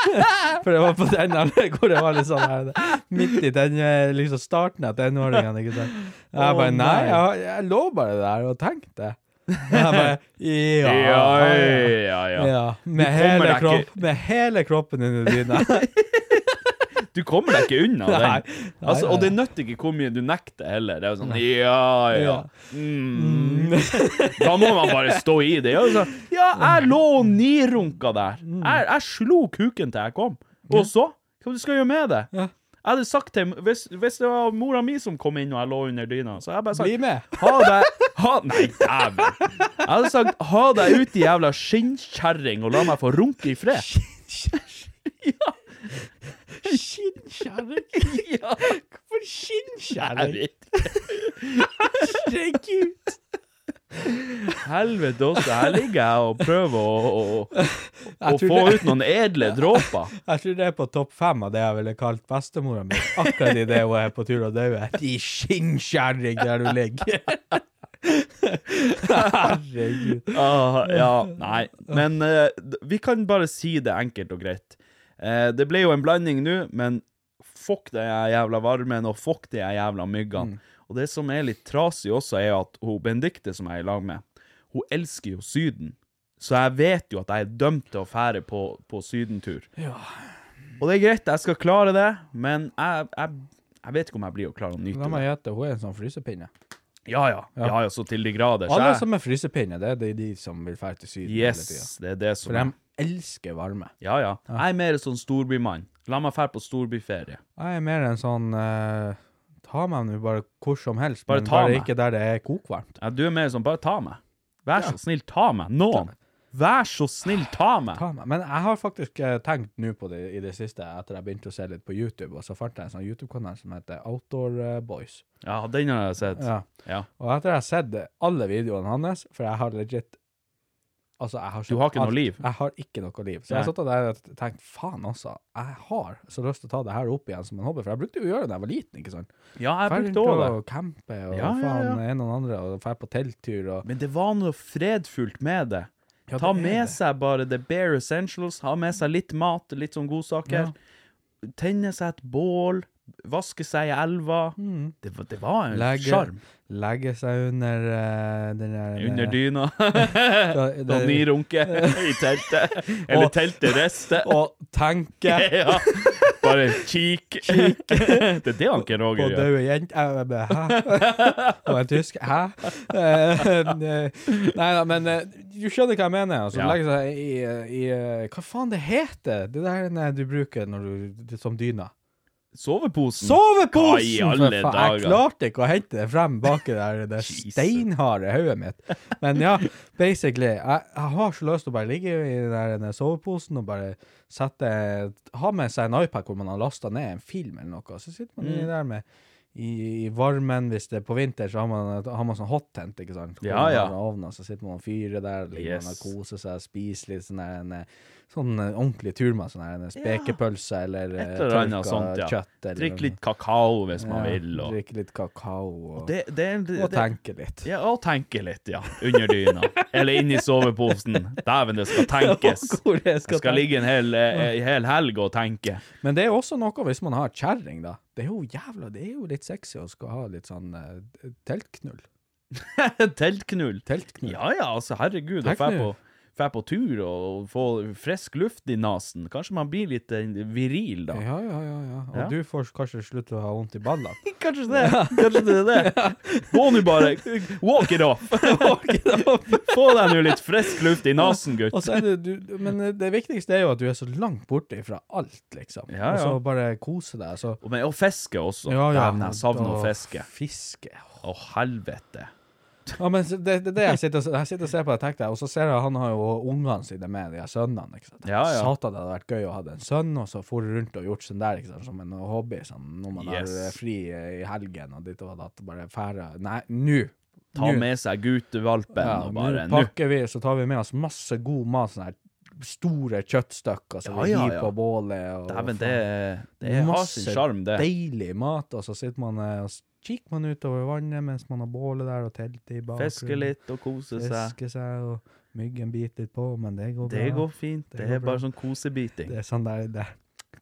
For det var på den alderen hvor det var litt sånn her, midt i den eh, liksom starten av tenåringene. ikke sant? Jeg Å, bare nei, nei. jeg, jeg lå bare der og tenkte. Og Jeg bare, ja, Ja, ja, ja, ja. ja. med, Du kommer hele deg ikke- kropp, med hele kroppen under dyna. Du kommer deg ikke unna Nei. den. Altså, Nei, og nei, det nytter ikke hvor mye du nekter heller. Det er jo sånn Ja, ja. Ja. Mm. Da må man bare stå i det. Og så, ja, jeg lå og nirunka der. Mm. Jeg, jeg slo kuken til jeg kom. Og så? Hva du skal gjøre med det? Ja. Jeg hadde sagt til hvis, hvis det var mora mi som kom inn og jeg lå under dyna, så hadde jeg bare sagt Bli med. Ha deg ha, Nei, dæven. Jeg hadde sagt ha deg ut, i jævla skinnkjerring, og la meg få runke i fred. Ja. Skinnkjerring? Ja. Hvorfor Jeg skinnkjerring? vet ikke. Herregud. Helvete også, her ligger jeg og prøver å, å, å Jeg tror få det- ut noen edle dråper. Jeg tror det er på topp fem av det jeg ville kalt bestemora mi. Akkurat idet hun er på tur og daue. De skinnkjerring der du ligger. Herregud. Ah, ja, nei. Men eh, d- vi kan bare si det enkelt og greit. Eh, det ble jo en blanding nå, men fuck den her jævla varmen, og fuck de her jævla myggene. Og det som er litt trasig også, er at hun Benedicte, som jeg er i lag med, hun elsker jo Syden. Så jeg vet jo at jeg er dømt til å fære på, på sydentur. Og det er greit, jeg skal klare det, men jeg, jeg, jeg vet ikke om jeg blir å klare å La nyte det. meg gjette, hun er en sånn frysepinne. Ja, ja. Ja, ja, så til de grader. Så Alle jeg- som er frysepinne, det er de, de som vil dra til Syden hele tida. Yes, det er det som For de elsker varme. Ja, ja. Jeg er mer sånn storbymann. La meg fære på storbyferie. Jeg er mer en sånn eh, Ta meg nå bare hvor som helst, Bare men ta bare meg. ikke der det er kokvarmt. Ja, du er mer sånn, bare ta meg. Vær så snill, ta meg. Noen. Vær så snill, ta meg. Ta meg. Men jeg har faktisk eh, tenkt nå på det i det siste, etter jeg begynte å se litt på YouTube, og så fant jeg en sånn YouTube-kanal som heter Outdoor eh, Boys. Ja, den har jeg sett. Ja. Ja. Og etter jeg har sett alle videoene hans, for jeg har legit Altså, jeg har Du har ikke noe alt. liv. Jeg har ikke noe liv. Så jeg Nei. har satt der og tenkt faen, altså. Jeg har så lyst til å ta det her opp igjen som en hobby, for jeg brukte jo å gjøre det da jeg var liten, ikke sant. Ja, jeg Fer brukte rundt òg det. og campe og Ja, ja, faen ja. en og den andre, og dra på telttur og Men det var noe fredfullt med det. Ja, det Ta er med det. seg bare the bare essentials, ha med seg litt mat, litt sånn godsaker. Tenne seg et bål, vaske seg i elva. Det, var- det var en Mm. Legge- sjarm. Legge seg under eh, den der Under dyna. det- Og nirunke i teltet. Eller Og- teltet riste. Og tenke Ja. Bare kikk. Det er det han ikke på Roger gjør. døde jenter. Jeg bare, Hæ? Og en tysk Hæ? Eh, Nei da, men eh, du skjønner hva jeg mener. Altså, Ja. Legge seg i, i eh, Hva faen det heter det der eh, du bruker når du, det, som dyna? Soveposen. Soveposen! Hva i for alle faen! Jeg dager? klarte ikke å hente det frem bak i det der- det Jesus. steinharde hodet mitt. Men ja, basically. Jeg, jeg har så lyst til å bare ligge i den der den soveposen og bare sette Ha med seg en iPad hvor man har lasta ned en film eller noe, så sitter man Mm. inni der med i, I varmen, hvis det er på vinter, så har man, har man sånn hottent, ikke sant? Hvor Ja, man ja. har ovnen, og så sitter man og fyrer der, ligger man Yes. og koser seg, spiser litt sånn der en eh, sånn eh, ordentlig turmat. Sånn her, en spekepølse eller Et eller annet sånt, ja. Eh, kjøtt. Eller, Drikk litt kakao hvis man Ja, vil. Og, Drikke litt kakao og, det, det, det, og tenke litt. Ja, og tenke litt, ja. Under dyna. Eller inni soveposen. Dæven, det skal tenkes. Hvor det Jeg skal tenke. ligge en hel, eh, en hel helg og tenke. Men det er også noe hvis man har kjerring, da. Det er jo jævla, det er jo litt sexy å skal ha litt sånn eh, teltknull. Teltknull. Teltknull. Ja ja, altså, herregud. Å fæ på, Teltknull. fæ på tur og få frisk luft i nesen. Kanskje man blir litt eh, viril da. Ja, ja, ja. ja. Og Ja. du får kanskje slutte å ha vondt i ballene. Kanskje det. Kanskje det er det. Gå nå bare. Walk it off. Få deg nå litt frisk luft i nesen, gutt. Og så er det, du, men eh, det viktigste er jo at du er så langt borte fra alt, liksom. Ja, ja. Og så bare kose deg. Så. Og- Men, og fiske også. Ja, ja. Dæven, jeg savner å Og fiske. Fiske. Å, helvete. Ja, men så det, det, det jeg, sitter, og se- jeg sitter og ser på det tenkte jeg, og så ser jeg han har jo ungene sine med, de her sønnene. ikke sant? Ja, ja. Satan, det hadde vært gøy å ha en sønn, og så for rundt og gjort sånn der, ikke sant, som en hobby, sånn, når man Yes. har eh, fri eh, i helgen og ditt og datt, bare fære. Nei, nå! Ta Nå. med seg guttevalpen Ja, og nå bare Nå. pakker vi, så tar vi med oss masse god mat, sånne her store kjøttstykker som Ja, vi ja, hiver ja. på bålet. og Dæven, faen. det, det har sin Masse sjarm, det. deilig mat, og så sitter man eh, og s- kikker man utover vannet mens man har bålet der og teltet i bakgrunnen. Fiske litt og kose seg. Fiske seg, og myggen biter litt på, men det går bra. Det går fint. Det, Det går er bare bra. sånn kosebiting. Det er sånn der, der.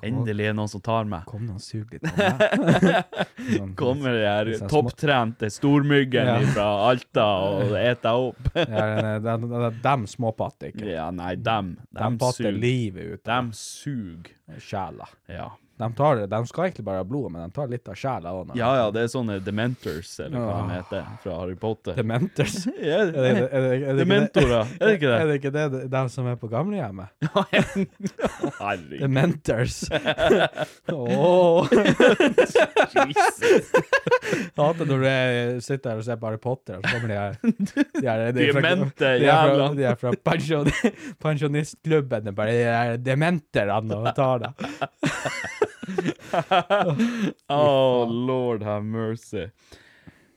Endelig er det noen som tar meg. Kom nå og sug litt av meg. Sånn- Kommer de her Litt sånn små- topptrente stormyggen Ja. fra Alta og eter opp. Ja, den- den- den- Dem småpatter ikke. Ja, nei, dem. De Dem patter suger. livet ut av Dem suger. sjela. Ja. De, tar, de skal egentlig bare ha blodet, men de tar litt av sjela òg. ja ja, det er sånne dementors, eller hva de heter, fra Harry Potter. Dementors. Ah. Er Ja, det- er det- er det- er det ikke det- Dementorer, er det ikke det? Er det ikke det, det- de som er på gamlehjemmet? Herregud. Dementors. Åh Jesus. Jeg hater når du sitter her og ser på Harry Potter, og så kommer de her De, her, de, er fra- Demente de, er fra- jævla. de er fra pensjon, pensjonistklubben. og Bare de her dementerne og tar det. Oh, lord have mercy.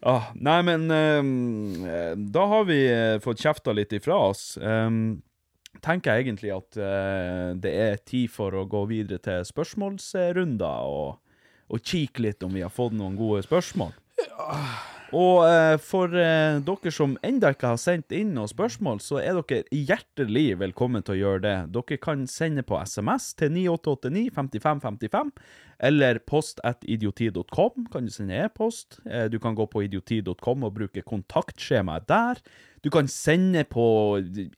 Ah, nei, men ehm, eh, da har vi eh, fått kjefta litt ifra oss. Ehm, tenker jeg egentlig at eh, det er tid for å gå videre til spørsmålsrunder og, og kikke litt om vi har fått noen gode spørsmål. Og eh, for eh, dere som enda ikke har sendt inn noen spørsmål, så er dere hjertelig velkommen til å gjøre det. Dere kan sende på SMS til 9889 5555, eller post at idioti.com kan du sende e-post. Eh, du kan gå på idioti.com og bruke kontaktskjemaet der. Du kan sende på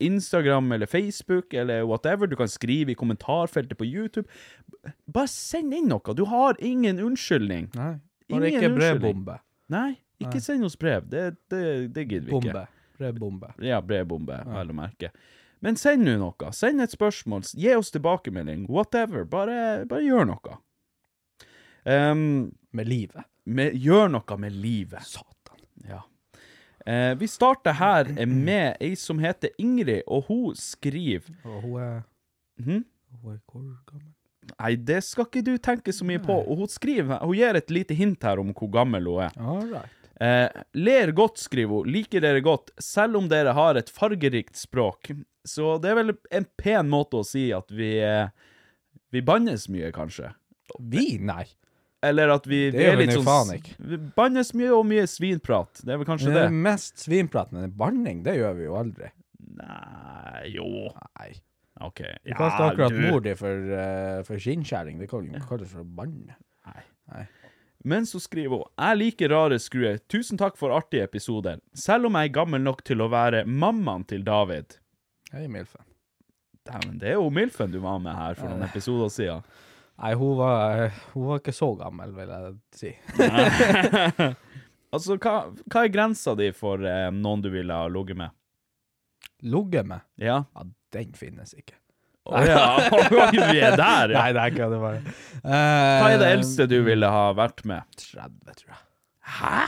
Instagram eller Facebook eller whatever. Du kan skrive i kommentarfeltet på YouTube. Bare send inn noe. Du har ingen unnskyldning. Nei, Ingen bare ikke unnskyldning. brødbombe. Nei, ikke send oss brev. Det, det, det gidder vi Bombe. Brødbombe. ikke. Ja, brevbombe, vel å merke. Men send nå noe. Send et spørsmål. Gi oss tilbakemelding. Whatever. Bare, bare gjør noe. Ehm, Med livet. med, gjør noe med livet. Satan. Ja. Eh, vi starter her med ei som heter Ingrid, og hun skriver Og hun er, Mhm. hun er hvor gammel? Nei, det skal ikke du tenke så mye på. Og hun skriver, hun gir et lite hint her om hvor gammel hun er. All right. Eh, ler godt, skriver hun. Liker dere godt, selv om dere har et fargerikt språk. Så det er vel en pen måte å si at vi eh, Vi bannes mye, kanskje. Vi? Nei. Eller at vi, Det vi gjør sånn vi nå faen ikke. Mm. Vi bannes mye og mye svinprat. Det er vel kanskje Det det? er mest svinprat, men banning, det gjør vi jo aldri. Nei Jo. Nei. OK. Du kalte akkurat mor di for, eh, for skinnskjæring. Det kan jo ikke kalles for å banne. Men så skriver hun Jeg liker rare skruer. Tusen takk for artige episoder. Selv om jeg er gammel nok til å være mammaen til David. Hei, Milfen. Dæven, det er jo Milfen du var med her for noen episoder siden. Nei, hun var, hun var ikke så gammel, vil jeg si. Altså, hva, hva er grensa di for eh, noen du ville ha ligget med? Ligget med? Ja? Ja, den finnes ikke. Å ja, vi er der, ja. Nei, det er ikke det bare. Hva er det eldste du ville ha vært med? 30, tror jeg. Hæ?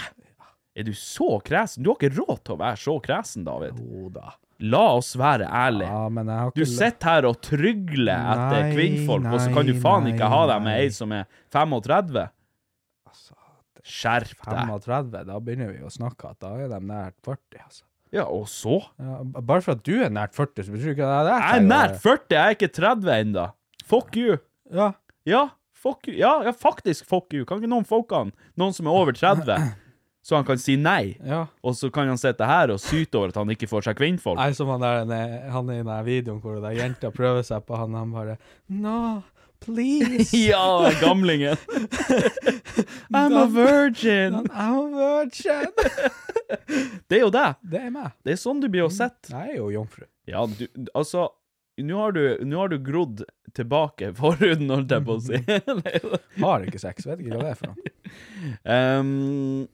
Er du så kresen? Du har ikke råd til å være så kresen, David. Jo da. La oss være ærlige. Ja, men jeg har Du ikke sitter her og trygler etter Ah, Nei, kvinnfolk, og så kan du nei, faen nei, ikke ha deg med nei. ei som er 35? Skjerp deg. 35, da begynner vi å snakke at da er de nært 40, altså. Ja, og så? bare for at du er nært 40, så betyr ikke det at jeg Jeg er nær 40, jeg er ikke 30 ennå. Fuck you. Ja. Ja, fuck you. Ja, ja, faktisk fuck you. Kan ikke noen folk han? Noen som er over 30? Så han kan si nei, Ja. og så kan han sitte her og syte over at han ikke får seg kvinnfolk. Jeg er som han der han er- han er i den der videoen hvor den jenta prøver seg på han, han bare No, please. Ja, gamlingen. I'm a virgin. I'm a virgin. Det er jo det. Det er meg. Det er sånn du blir å sett. Jeg er jo jomfru. Ja, du, altså Nå har, du- nå har du grodd tilbake forhuden, holdt jeg på å si. Har ikke sex, vet ikke hva det er for noe. um,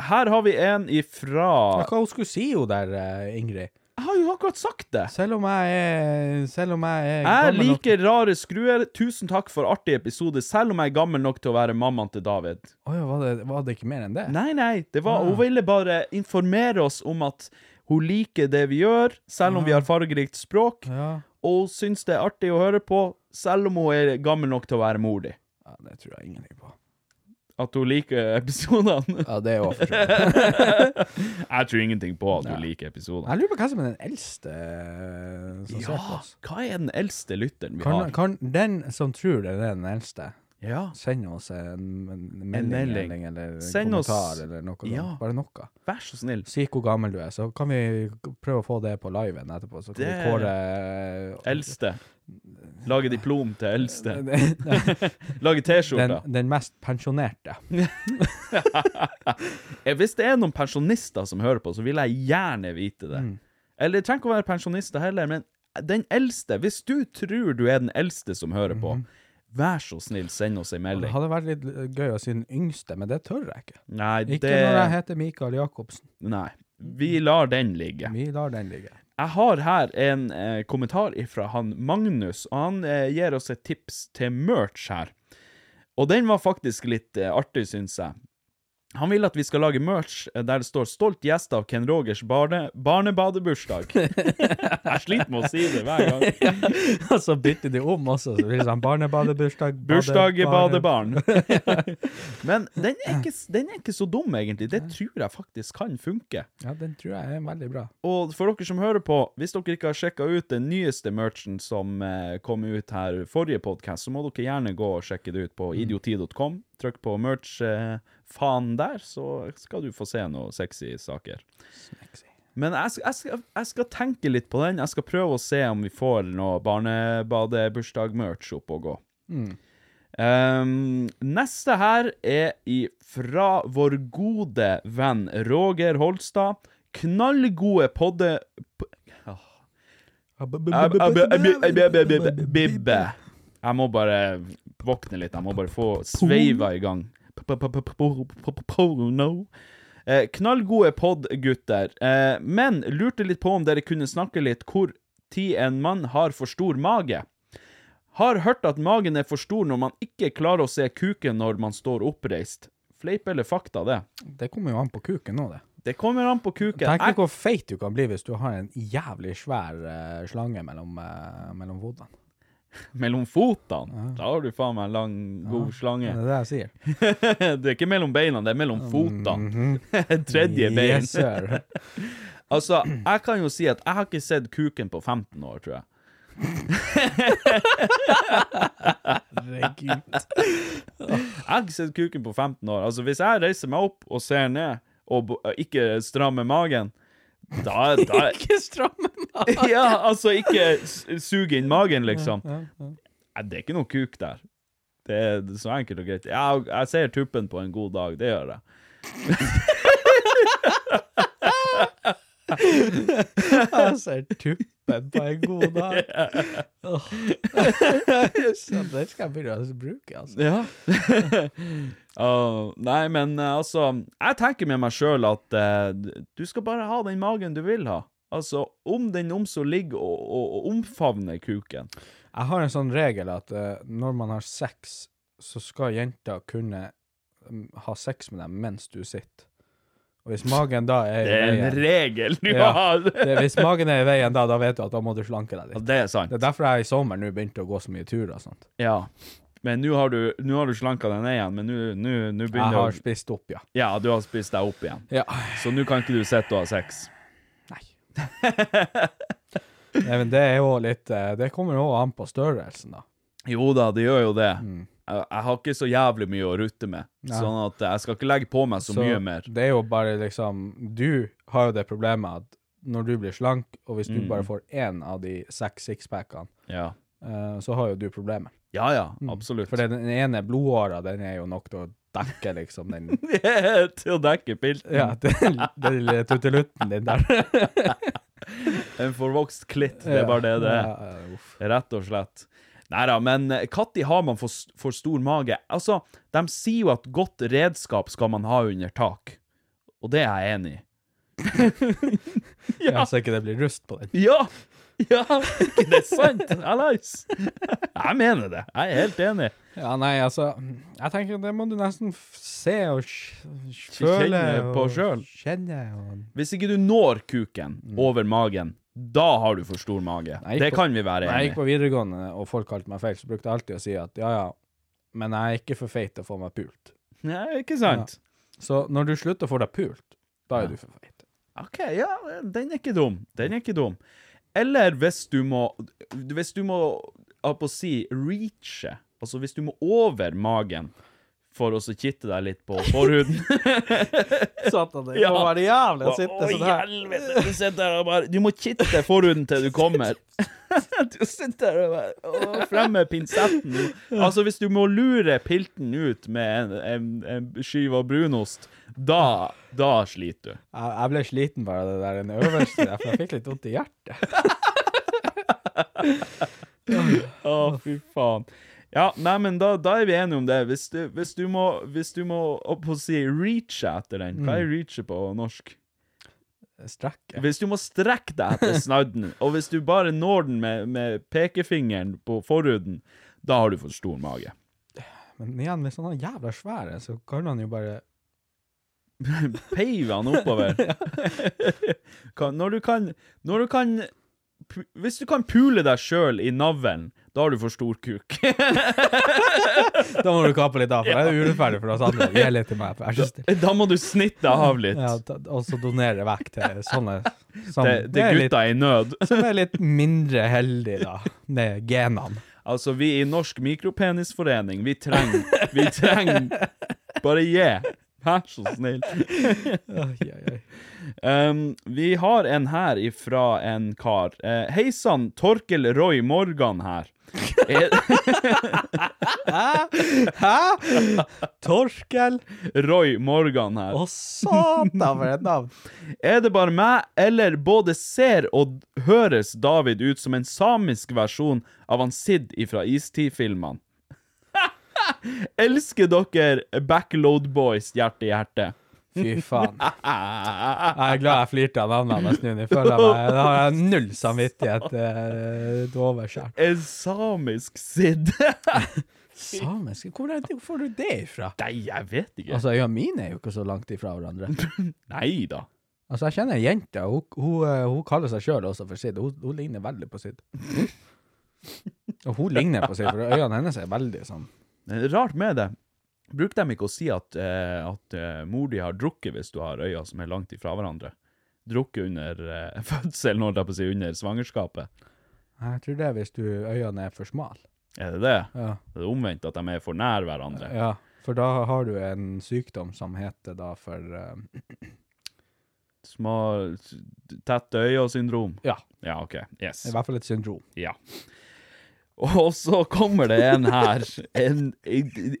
her har vi en ifra Hva hun skulle si hun der, eh, Ingrid? Jeg har jo akkurat sagt det! Selv om jeg er Selv om jeg er Jeg gammel nok- liker rare skruer. Tusen takk for artig episode, selv om jeg er gammel nok til å være mammaen til David. Å ja, var det, var det ikke mer enn det? Nei, nei, det var, hun ville bare informere oss om at hun liker det vi gjør, selv om vi har fargerikt språk, Ja. og hun syns det er artig å høre på, selv om hun er gammel nok til å være mor di. ja, det tror jeg ingenting på. At hun liker episodene. Ja, det er jo for så vidt. Jeg tror ingenting på at hun liker episodene. Altså, Jeg lurer på hvem som er den eldste eh, som ser på Ja, oss. hva er den eldste lytteren vi Kan, har? kan den som tror det er den eldste, Ja. send oss en, en melding, melding. eller en Send oss- kommentar eller noe sånt. Ja. Bare noe. Vær så snill. Si hvor gammel du er, så kan vi prøve å få det på liven etterpå. Så kan Det- vi kåre eh, Eldste. Lage diplom til eldste. Den, Lage T-skjorta. den mest pensjonerte. Eh, Hvis det er noen pensjonister som hører på, så vil jeg gjerne vite Mm. det. Eller trenger ikke å være pensjonister heller, men den eldste Hvis du tror du er den eldste som hører på, Mhm. vær så snill, send oss en Det melding. hadde vært litt gøy å si den yngste, men det tør jeg ikke. Nei, Ikke når jeg det heter Mikael Jacobsen. Nei. Vi lar den ligge. Vi lar den ligge. Jeg har her en eh, kommentar fra han Magnus, og han eh, gir oss et tips til merch her. Og den var faktisk litt eh, artig, syns jeg. Han vil at vi skal lage merch eh, der det står 'Stolt gjest av Ken Rogers barne barnebadebursdag'. jeg sliter med å si det hver gang. Og så bytter de om også. Så blir det sånn barnebadebursdag bade- Bursdag i barne- badebarn. Men den er, ikke, den er ikke så dum, egentlig. Det tror jeg faktisk kan funke. Ja, den tror jeg er veldig bra. Og for dere som hører på, hvis dere ikke har sjekka ut den nyeste merchen som eh, kom ut her forrige podkast, så må dere gjerne gå og sjekke det ut på idioti.com. Trykk på merch-faen der, så skal du få se noen sexy saker. Men jeg, sk- jeg, skal, jeg skal tenke litt på den. Jeg skal prøve å se om vi får noe barnebadebursdag-merch opp og gå. Um, neste her er fra vår gode venn Roger Holstad. Knallgode podde... p- Åh. Ab- ab- ab- ab- ab- ab- ab- Bibbe. Jeg må bare våkne litt. Jeg må bare få sveiva i gang. Porno. Eh, Knallgode pod, gutter. Eh, men lurte litt på om dere kunne snakke litt hvor tid en mann har for stor mage. Har hørt at magen er for stor når man ikke klarer å se kuken når man står oppreist. Fleip eller fakta, det? Det kommer jo an på kuken nå, det. Det kommer an på kuken. Tenk Jeg- deg hvor feit du kan bli hvis du har en jævlig svær eh, slange mellom, eh, mellom hodene. Mellom fotene. Da har du faen meg en lang, god Det slange. er det jeg sier. det er ikke mellom beina, det er mellom fotene. Tredje bein. Mhm. Yes, sir. Altså, jeg kan jo si at jeg har ikke sett kuken på 15 år, tror jeg. Herregud. Jeg har ikke sett kuken på 15 år. Altså, hvis jeg reiser meg opp og ser ned, og bo- ikke strammer magen, da, da Ikke stramme meg. Ja, altså, ikke s- suge inn magen, liksom. Nei, Det er ikke noe kuk der. Det er så enkelt og greit. Jeg, jeg ser tuppen på en god dag, det gjør jeg. Jeg ser tuppen på en god dag. Åh. Så Den skal jeg begynne å bruke, altså. Ja. Åh, nei, men eh, altså Jeg tenker med meg sjøl at eh, du skal bare ha den magen du vil ha. Altså, om den omså ligger og, og, og omfavner kuken. Jeg har en sånn regel at eh, når man har sex, så skal jenta kunne mm, ha sex med deg mens du sitter. Og hvis magen da er i Det er en veien regel du Ja, har! det, Hvis magen er i veien da, da vet du at da må du slanke deg Ja, litt. det er sant. Det er derfor jeg i sommer nå begynte å gå så mye turer og sånt. Ja. Men nå har du, nå har du slanka deg ned igjen, men nå- nå nå Jeg begynner har å- spist opp, ja. Ja, du har spist deg opp igjen. Ja. Så nå kan ikke du sitte og ha sex. Nei. Nei, men det er jo litt eh, Det kommer jo an på størrelsen, da. Jo da, det gjør jo det. Jeg, jeg har ikke så jævlig mye å rutte med, Mm. Nei. sånn at jeg skal ikke legge på meg så, mye mer. Det er jo bare liksom Du har jo det problemet at når du blir slank, og hvis du Mm. bare får én av de seks sixpackene, Ja. eh, så har jo du problemet. Ja, ja, absolutt. Mm. For den den ene blodåra, den er jo nok til å dekke liksom den Til å dekke pilten. Ja, den, den lille tuttelutten din der. En forvokst klitt, Ja. det er bare det det Ja, er. Rett og slett. Nei da, men eh, når har man for, s- for stor mage? Altså, de sier jo at godt redskap skal man ha under tak, og det er jeg enig i. ja. Så ikke det blir rust på den. Ja! Ja, ikke det er sant? Alice! Jeg mener det. Jeg er helt enig. Ja, nei, altså Jeg tenker det må du nesten f se og sj- sj- Kjenne føle på og selv. Kjenne og Hvis ikke du når kuken Mm. over magen, da har du for stor mage. Jeg gikk Det på- kan vi være Når jeg gikk enige i. på videregående og folk kalte meg feil, så brukte jeg alltid å si at ja, ja, men jeg er ikke for feit til å få meg pult. Nei, ikke sant? Så når du slutter å få deg pult, da er du for feit. OK, ja, den er ikke dum. Den er ikke dum. Eller hvis du må Hvis du må jeg holdt på å si reache, altså hvis du må over magen for å så kitte deg litt på forhuden Satan, det Ja. må være jævlig å Å, sitte å, sånn her. helvete! Du sitter der og bare Du må kitte forhuden til du kommer. du sitter der og bare å, Frem med pinsetten. Altså, hvis du må lure pilten ut med en, en, en skive av brunost, da, da sliter du. Jeg, jeg ble sliten bare av det der den øverste, der, for jeg fikk litt vondt i hjertet. Å, fy faen. Ja, nei, men da, da er vi enige om det. Hvis du, hvis du må, hvis du må opp og si reache etter den Hva Mm. er reache på norsk? Strekket. Hvis du må strekke deg etter snadden, og hvis du bare når den med, med pekefingeren på forhuden, da har du for stor mage. Men igjen, hvis han er jævla svær, så kan han jo bare Peive han oppover. Kan- når du kan Når du kan pu- Hvis du kan pule deg sjøl i navlen, da har du for stor kuk. Da må du kappe litt av, for det er urettferdig for oss andre. Gi litt til meg, for jeg er så stille. da må du snitte av litt Ja, ta- og så donere vekk til sånne som til, er til litt- gutta i nød. som er litt mindre heldige, da, med genene. Altså, vi i Norsk Mikropenisforening, vi trenger Vi trenger Bare gi. Vær så snill. Oi, oi, oi. Um, vi har en her ifra en kar. Uh, Hei sann, Torkel Roy Morgan her. Er, Hæ? Torkel? Roy Morgan her. Å, satan, for et navn! Er det bare meg, eller både ser og høres David ut som en samisk versjon av han Sid fra Istid-filmene? Elsker dere Backload Boys hjerte i hjerte. Fy faen. Jeg er glad jeg flirte av navnet hans nå. Jeg føler meg Da har jeg null samvittighet eh, over sjøl. En samisk Sid? Samisk? Hvor er det, hvor får du det ifra? Nei, jeg vet ikke. Altså, øynene mine er jo ikke så langt ifra hverandre. Nei da. Altså, jeg kjenner ei jente, hun, hun, eh, hun kaller seg sjøl også for Sid. Hun, hun ligner veldig på Sid. Og hun ligner på Sid, for øynene hennes er veldig sånn Det er Rart med det. Bruker de ikke å si at, eh, at eh, mor di har drukket hvis du har øyne som er langt ifra hverandre? Drukket under eh, fødselen, holdt jeg på å si, under svangerskapet. Jeg tror det er hvis du øynene er for smale. Er det det? Ja. Det er omvendt at de er for nær hverandre. ja. For da har du en sykdom som heter da for eh, Små, s- tette øyne-syndrom. Ja. Ja, OK. Yes. I hvert fall et syndrom. Ja. Og så kommer det en her, en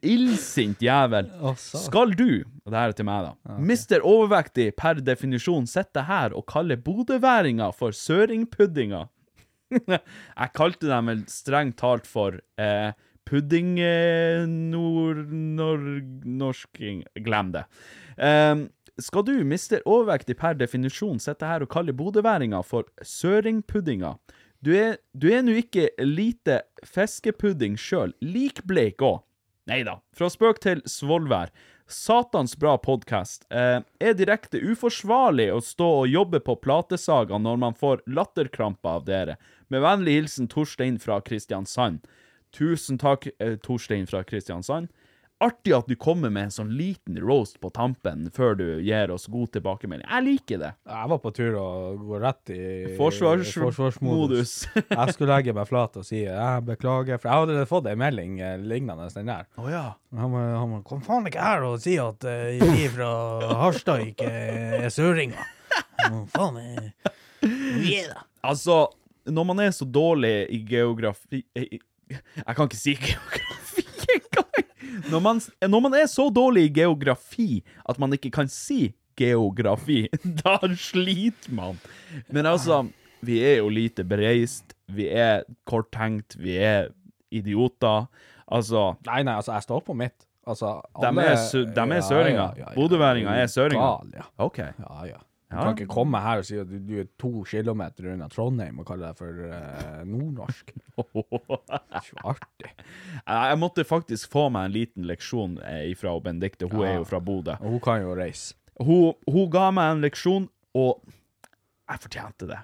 illsint jævel. Å, sa- Skal du, og det her er til meg da, mister overvektig per definisjon sitte her og kalle bodøværinga for søringpuddinga? Jeg kalte dem vel strengt talt for eh, pudding eh, nord, nor, norsking Glem det. Ehm, skal du, mister overvektig per definisjon, sitte her og kalle bodøværinga for søringpuddinga? Du er du er nå ikke lite fiskepudding sjøl, likbleik òg. Nei da. Fra spøk til svolvær. Satans bra podkast. Eh, er direkte uforsvarlig å stå og jobbe på platesaga når man får latterkrampe av dere. Med vennlig hilsen Torstein fra Kristiansand. Tusen takk, eh, Torstein fra Kristiansand. Artig at du kommer med en sånn liten roast på tampen før du gir oss god tilbakemelding. Jeg liker det. Jeg var på tur å gå rett i Forsvars- Eh, forsvarsmodus. jeg skulle legge meg flat og si jeg beklager, for jeg hadde fått ei melding eh, lignende den der. Å ja. Han må, han må kom faen ikke her og si at eh, vi fra Harstad ikke er søringer. Må Faen, eh, vi er det. Altså, når man er så dårlig i geografi eh, i- Jeg kan ikke si geografi engang! Når, man- når man er så dårlig i geografi at man ikke kan si geografi, da sliter man. Men altså, vi er jo lite bereist, vi er korttenkt, vi er idioter. Altså Nei, nei, altså, jeg står på mitt. Altså, De alle- er, sø- dem er Ja, søringer. ja, ja, ja. Bodøværinger er søringer. Gal, ja. OK. Ja, ja. Du Ja. kan ikke komme her og si at du, du er to kilometer unna Trondheim og kalle deg for eh, nordnorsk. Ikke artig. Jeg jeg måtte faktisk få meg en liten leksjon eh, fra Benedicte. Hun er jo fra Bodø. Og hun kan jo reise. Hun, hun ga meg en leksjon, og jeg fortjente det.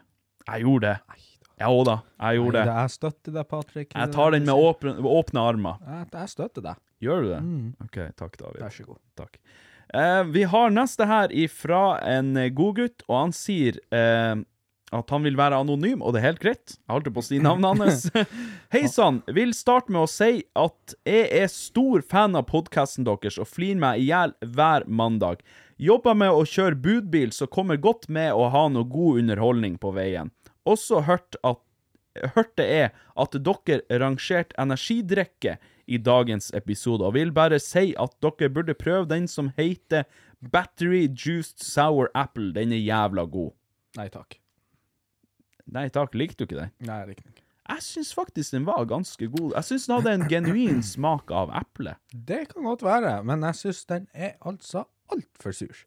Jeg gjorde det. Ja òg da, jeg gjorde Nei, det. Jeg støtter deg, Patrick. Jeg tar den med åpne, åpne armer. Jeg, jeg støtter deg. Gjør du det? OK, takk, David. Mm. Vær så god. Takk. Eh, vi har neste her ifra en godgutt, og han sier eh, at han vil være anonym, og det er helt greit. Jeg holdt på å si navnet hans. Hei sann, vil starte med å si at jeg er stor fan av podkasten deres og flirer meg i hjel hver mandag. Jobber med å kjøre budbil, så kommer godt med å ha noe god underholdning på veien. Også hørt at hørte jeg at dere rangerte energidrikke i dagens episode, og vil bare si at dere burde prøve den som heter Battery Juiced Sour Apple. Den er jævla god. Nei takk. Nei takk, likte du ikke den? Nei, riktig. Jeg syns faktisk den var ganske god. Jeg syns den hadde en genuin smak av eple. Det kan godt være, men jeg syns den er altså altfor sur.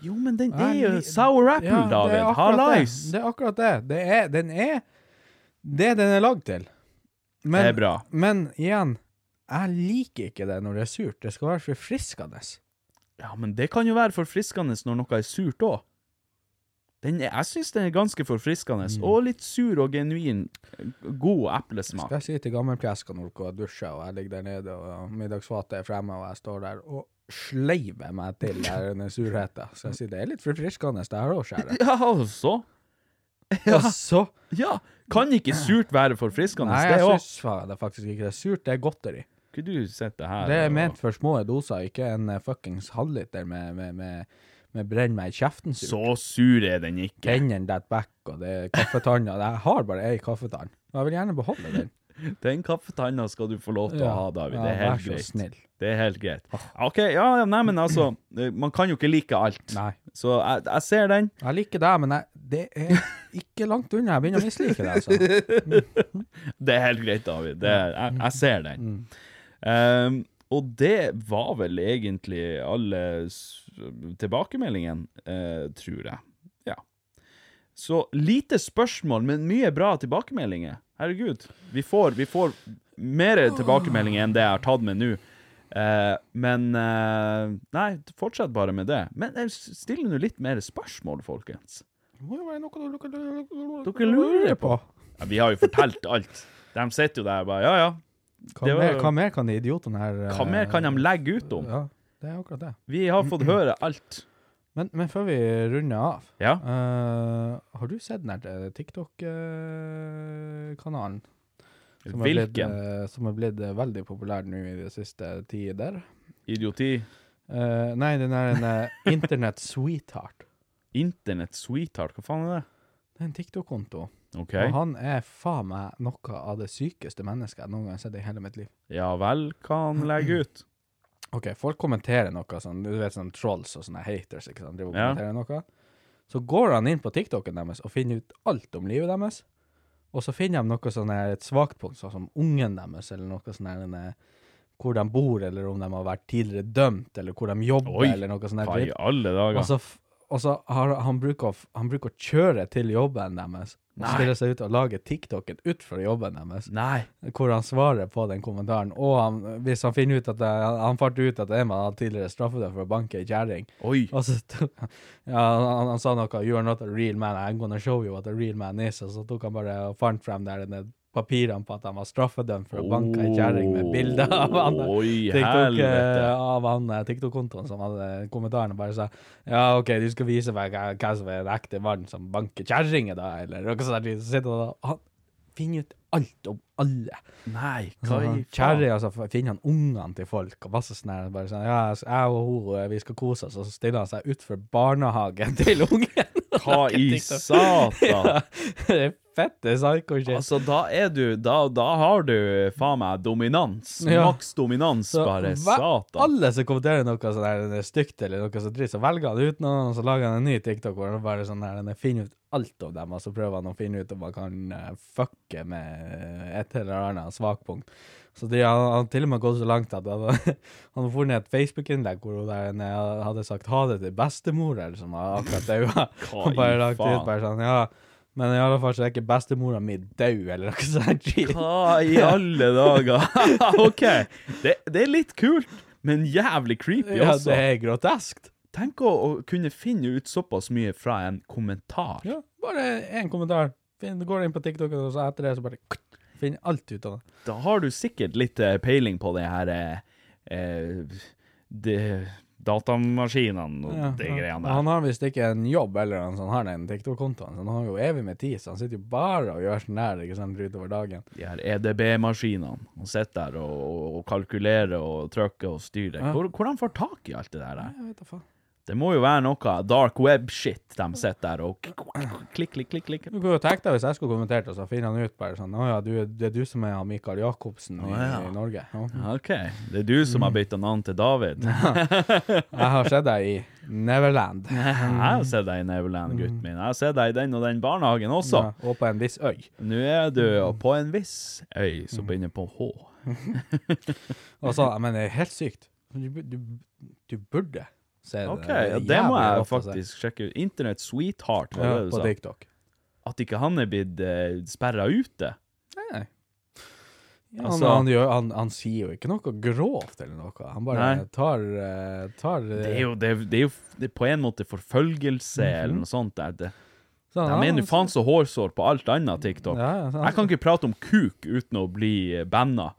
Jo, men den er Jeg jo li- sour apple, Ja, det er David. akkurat det. Hallais! Det er akkurat det. Det er, den er det den er lagd til. Men, Det er bra. Men igjen, jeg liker ikke det når det er surt. Det skal være forfriskende. Ja, men det kan jo være forfriskende når noe er surt òg. Jeg syns den er ganske forfriskende, Mm. og litt sur og genuin eh, god eplesmak. Skal jeg si til gammelpjeska når dere dusjer, og jeg ligger der nede, og middagsfatet er fremme, og jeg står der og sleiver meg til den surheten. Så jeg sier det er litt forfriskende, det her òg, kjære. Ja, altså. Og så Ja, kan ikke surt være forfriskende? Nei, det jeg òg. syns faen, det er faktisk ikke det. Surt, det er godteri. Kunne du sett det her? Det er og- ment for små doser, ikke en eh, fuckings halvliter med, med, med, med brenn meg i kjeften. sur. Så sur er den ikke. Tennene detter back, og det er kaffetanna. Jeg har bare ei kaffetann, og jeg vil gjerne beholde den. Den kaffetanna skal du få lov til Ja. å ha, David. Ja, Det er helt vær så greit. snill. Ah. Det er helt greit. OK, ja, ja, nei, men altså eh, Man kan jo ikke like alt. Nei. Så jeg, jeg ser den. Jeg liker deg, men jeg, det er ikke langt unna. Jeg begynner å mislike deg, altså. Det er helt greit, David. Det er, jeg, jeg ser den. Ehm, og det var vel egentlig alle s- tilbakemeldingene, eh, tror jeg. Ja. Så lite spørsmål, men mye bra tilbakemeldinger. Herregud. Vi får, vi får mer tilbakemeldinger enn det jeg har tatt med nå. Eh, men eh, Nei, fortsett bare med det. Men eh, still nå litt mer spørsmål, folkens. Det må jo være noe dere- Dere lurer på. Ja, vi har jo fortalt alt. De sitter jo der og bare Ja, ja. Hva, Det var- mer, hva mer kan de idiotene her eh, Hva mer kan de legge ut om? Ja, det er akkurat det. Vi har fått høre alt. Men, men før vi runder av, Ja. eh, har du sett den der TikTok-kanalen? Som er blitt, Hvilken eh, som er blitt eh, veldig populær nå i de siste tider. idioti? Eh, nei, den er en eh, Internet Sweetheart. Internett sweetheart, hva faen er det? Det er en TikTok-konto. OK. Og han er faen meg noe av det sykeste mennesket jeg noen gang har sett i hele mitt liv. Ja vel, hva han legger ut? Ok, folk kommenterer noe sånn, du vet sånn trolls og sånne haters, ikke sant, driver og Ja. kommenterer noe. Så går han inn på TikToken deres og finner ut alt om livet deres, og så finner de noe sånn her, et svagt punkt, sånn som ungen deres, eller noe sånn her, en, eh, hvor de bor, eller om de har vært tidligere dømt, eller hvor de jobber, Oi, eller noe sånn her. Hva i dritt. alle Og dager? så, f- og så har han bruker, å f- han bruker å kjøre til jobben deres, og stille seg ut og lage TikToken ut fra jobben deres Nei. hvor han svarer på den kommentaren. Og han, hvis han finner ut at det, han fant ut at det er man tidligere straffet for å banke ei kjerring. Oi. Og så tok han, ja, han, han sa noe 'You're not a real man, I'm gonna show you what a real man is'. Og så tok han bare og fant frem der denne papirene på at han var straffedømt for å banke ei kjerring med bilde av han der Oi, TikTok, helvete. eh, av han eh, TikTok-kontoen som hadde kommentaren og bare sa Ja, OK, du skal vise meg hva hva som er en ekte mann som banker kjerringer, da, eller noe sånt. der. Så sitter han og Han finner ut alt om alle. Nei, Så hva i han- faen? Kjerri, altså, f- finner han ungene til folk, og masse sånn her, bare sånn Ja, jeg og hun, eh, vi skal kose oss, og så stiller han seg utfor barnehagen til ungen. Hva i Ja, satan? det er fette psycho-shit. Altså, da er du Da, da har du faen meg dominans. Ja. Maks dominans, Så bare. hver- Satan. Alle som kommenterer noe sånn her det er stygt eller noe så dritt, så velger han ut noen, og så lager han en ny TikTok hvor han bare sånn her, han finner ut alt om dem, og så prøver han å finne ut om han kan eh, fucke med et eller annet svakpunkt. Så de, han han har til og med gått så langt at han han har funnet et Facebook-innlegg hvor hun der nede hadde sagt ha det til bestemor, eller som har akkurat daua. Hva Og bare i lagt faen? ut bare sånn, ja. Men i alle fall så er ikke bestemora mi død, eller noe sånt. Hva i alle dager? OK, det, det er litt kult, men jævlig creepy Ja, også. det er groteskt. Tenk å, å kunne finne ut såpass mye fra en kommentar. Ja, bare én kommentar. Finn, du går inn på TikTok, og så etter det så bare kutt, finner alt ut av det. Da har du sikkert litt eh, peiling på det her eh, eh, de, Datamaskinene og Ja, de ja. greiene Og der. Han har visst ikke en jobb eller noe sånt, han har den TikTok-kontoen, så han har jo evig med tid, så han sitter jo bare og gjør sånn der ikke sant, utover dagen. De her EDB-maskinene. Han sitter der og, og, og kalkulerer og trykker og styrer. Ja. Hvor, hvordan får han tak i alt det der? Jeg vet da faen. Det må jo være noe dark web-shit de sitter der og k- klikk, klikk, klikk. klikk. Du kunne jo tenkt deg hvis jeg skulle kommentert, og så finner han ut bare sånn Å ja, du, det er du som er han Mikael Jacobsen i, ja. i Norge. Ja. OK, det er du som Mm. har bytta navn til David. Jeg har sett deg i Neverland. Jeg Um, har sett deg i Neverland, gutten min. Jeg har sett deg i den og den barnehagen også. mm. Ja, Mm. og på en viss øy. Nå er du på en viss øy Mm. som begynner på H. Og så, men det er helt sykt. Du, bu- du, du burde se OK, er ja, det må jævlig rått jeg å se. faktisk sjekke ut. Internett Sweetheart, var ja, det du på sa? TikTok. At ikke han er blitt uh, sperra ute? Nei. Ja, Altså- han, han, gjør, han, han sier jo ikke noe grovt eller noe. Han bare Nei. tar, eh, tar eh, Det er jo, det er, det er jo f- det er på en måte forfølgelse Mhm. eller noe sånt. Der. Det, sånn, de han- er nå faen så hårsår på alt annet TikTok. Ja, ja, sånn. sant. Jeg kan ikke prate om kuk uten å bli eh, banna.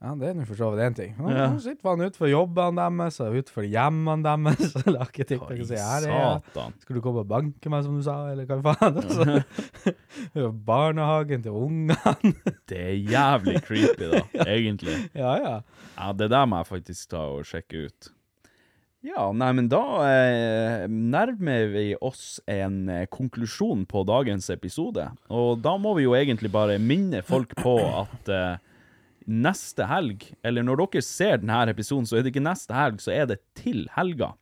Ja, det er nå for så vidt én ting. Nå, Ja. nå sitter han utenfor jobben deres og utenfor hjemmene deres og lager TikTok og Oi, sier her er jeg. satan. Skal du komme og banke meg, som du sa, eller hva faen? Altså, barnehagen til ungene. Det er jævlig creepy, da, egentlig. ja, ja. Ja, det der må jeg faktisk ta og sjekke ut. Ja, nei, men da eh, nærmer vi oss en eh, konklusjon på dagens episode. Og da må vi jo egentlig bare minne folk på at eh, neste helg, eller når dere ser denne episoden, så er det ikke neste helg, så er det til helga.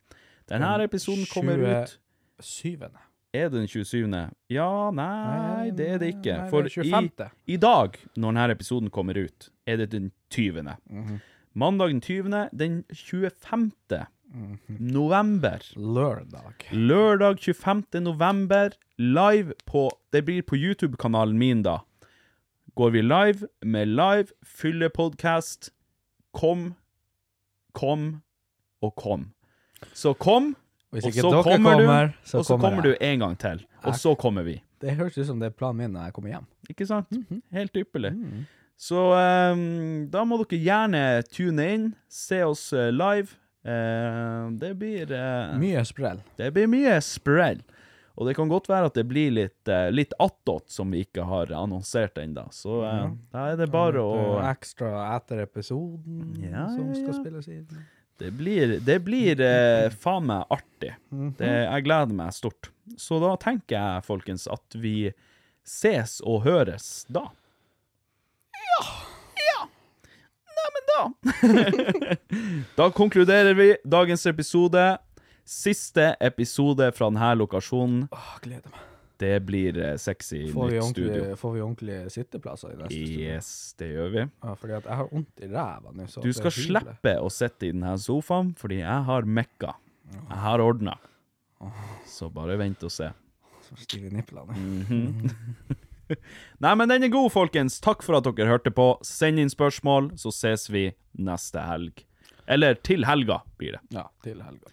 Denne Den episoden kommer ut Syvende. er det den 27.? Ja, nei, det er det ikke. Nei, det er For i, 25.. i dag, når denne episoden kommer ut, er det den 20. Mhm. Mandag den 20., den 25. Mhm. november. Lørdag. Lørdag 25. november, live på Det blir på YouTube-kanalen min, da. Går vi live med live fyllepodkast. Kom, kom og kom. Så kom, Hvis og ikke så dere kommer, kommer, du, så og så kommer kommer du jeg. en gang til. Og så kommer vi. Det høres ut som det er planen min når jeg kommer hjem. Ikke sant? Mhm. Helt ypperlig. Så ehm, da må dere gjerne tune inn, se oss eh, live. Eh, det blir eh, Mye sprell. det blir mye sprell. Og det kan godt være at det blir litt, eh, litt attåt som vi ikke har annonsert ennå. Så eh, da er det bare Og å ekstra etter episoden Ja, som ja, skal ja. spilles inn. Det blir, det blir eh, faen meg artig. Mhm. Det, jeg gleder meg stort. Så da tenker jeg, folkens, at vi ses og høres da. Ja. Ja. Neimen, da. da konkluderer vi dagens episode. Siste episode fra denne lokasjonen. Åh, gleder meg. Det blir eh, sexy Får vi, nytt ordentlig, studio. får vi ordentlige sitteplasser i neste studio? Yes, det gjør vi. Ja, fordi at jeg har vondt i ræva nå. så Du det skal hyler. slippe å sitte i denne sofaen, fordi jeg har mekka. Jeg har ordna. Så bare vent og se. Så Stive nipplene. Mhm. Nei, men den er god, folkens. Takk for at dere hørte på. Send inn spørsmål, så ses vi neste helg. Eller til helga, blir det. Ja, til helga.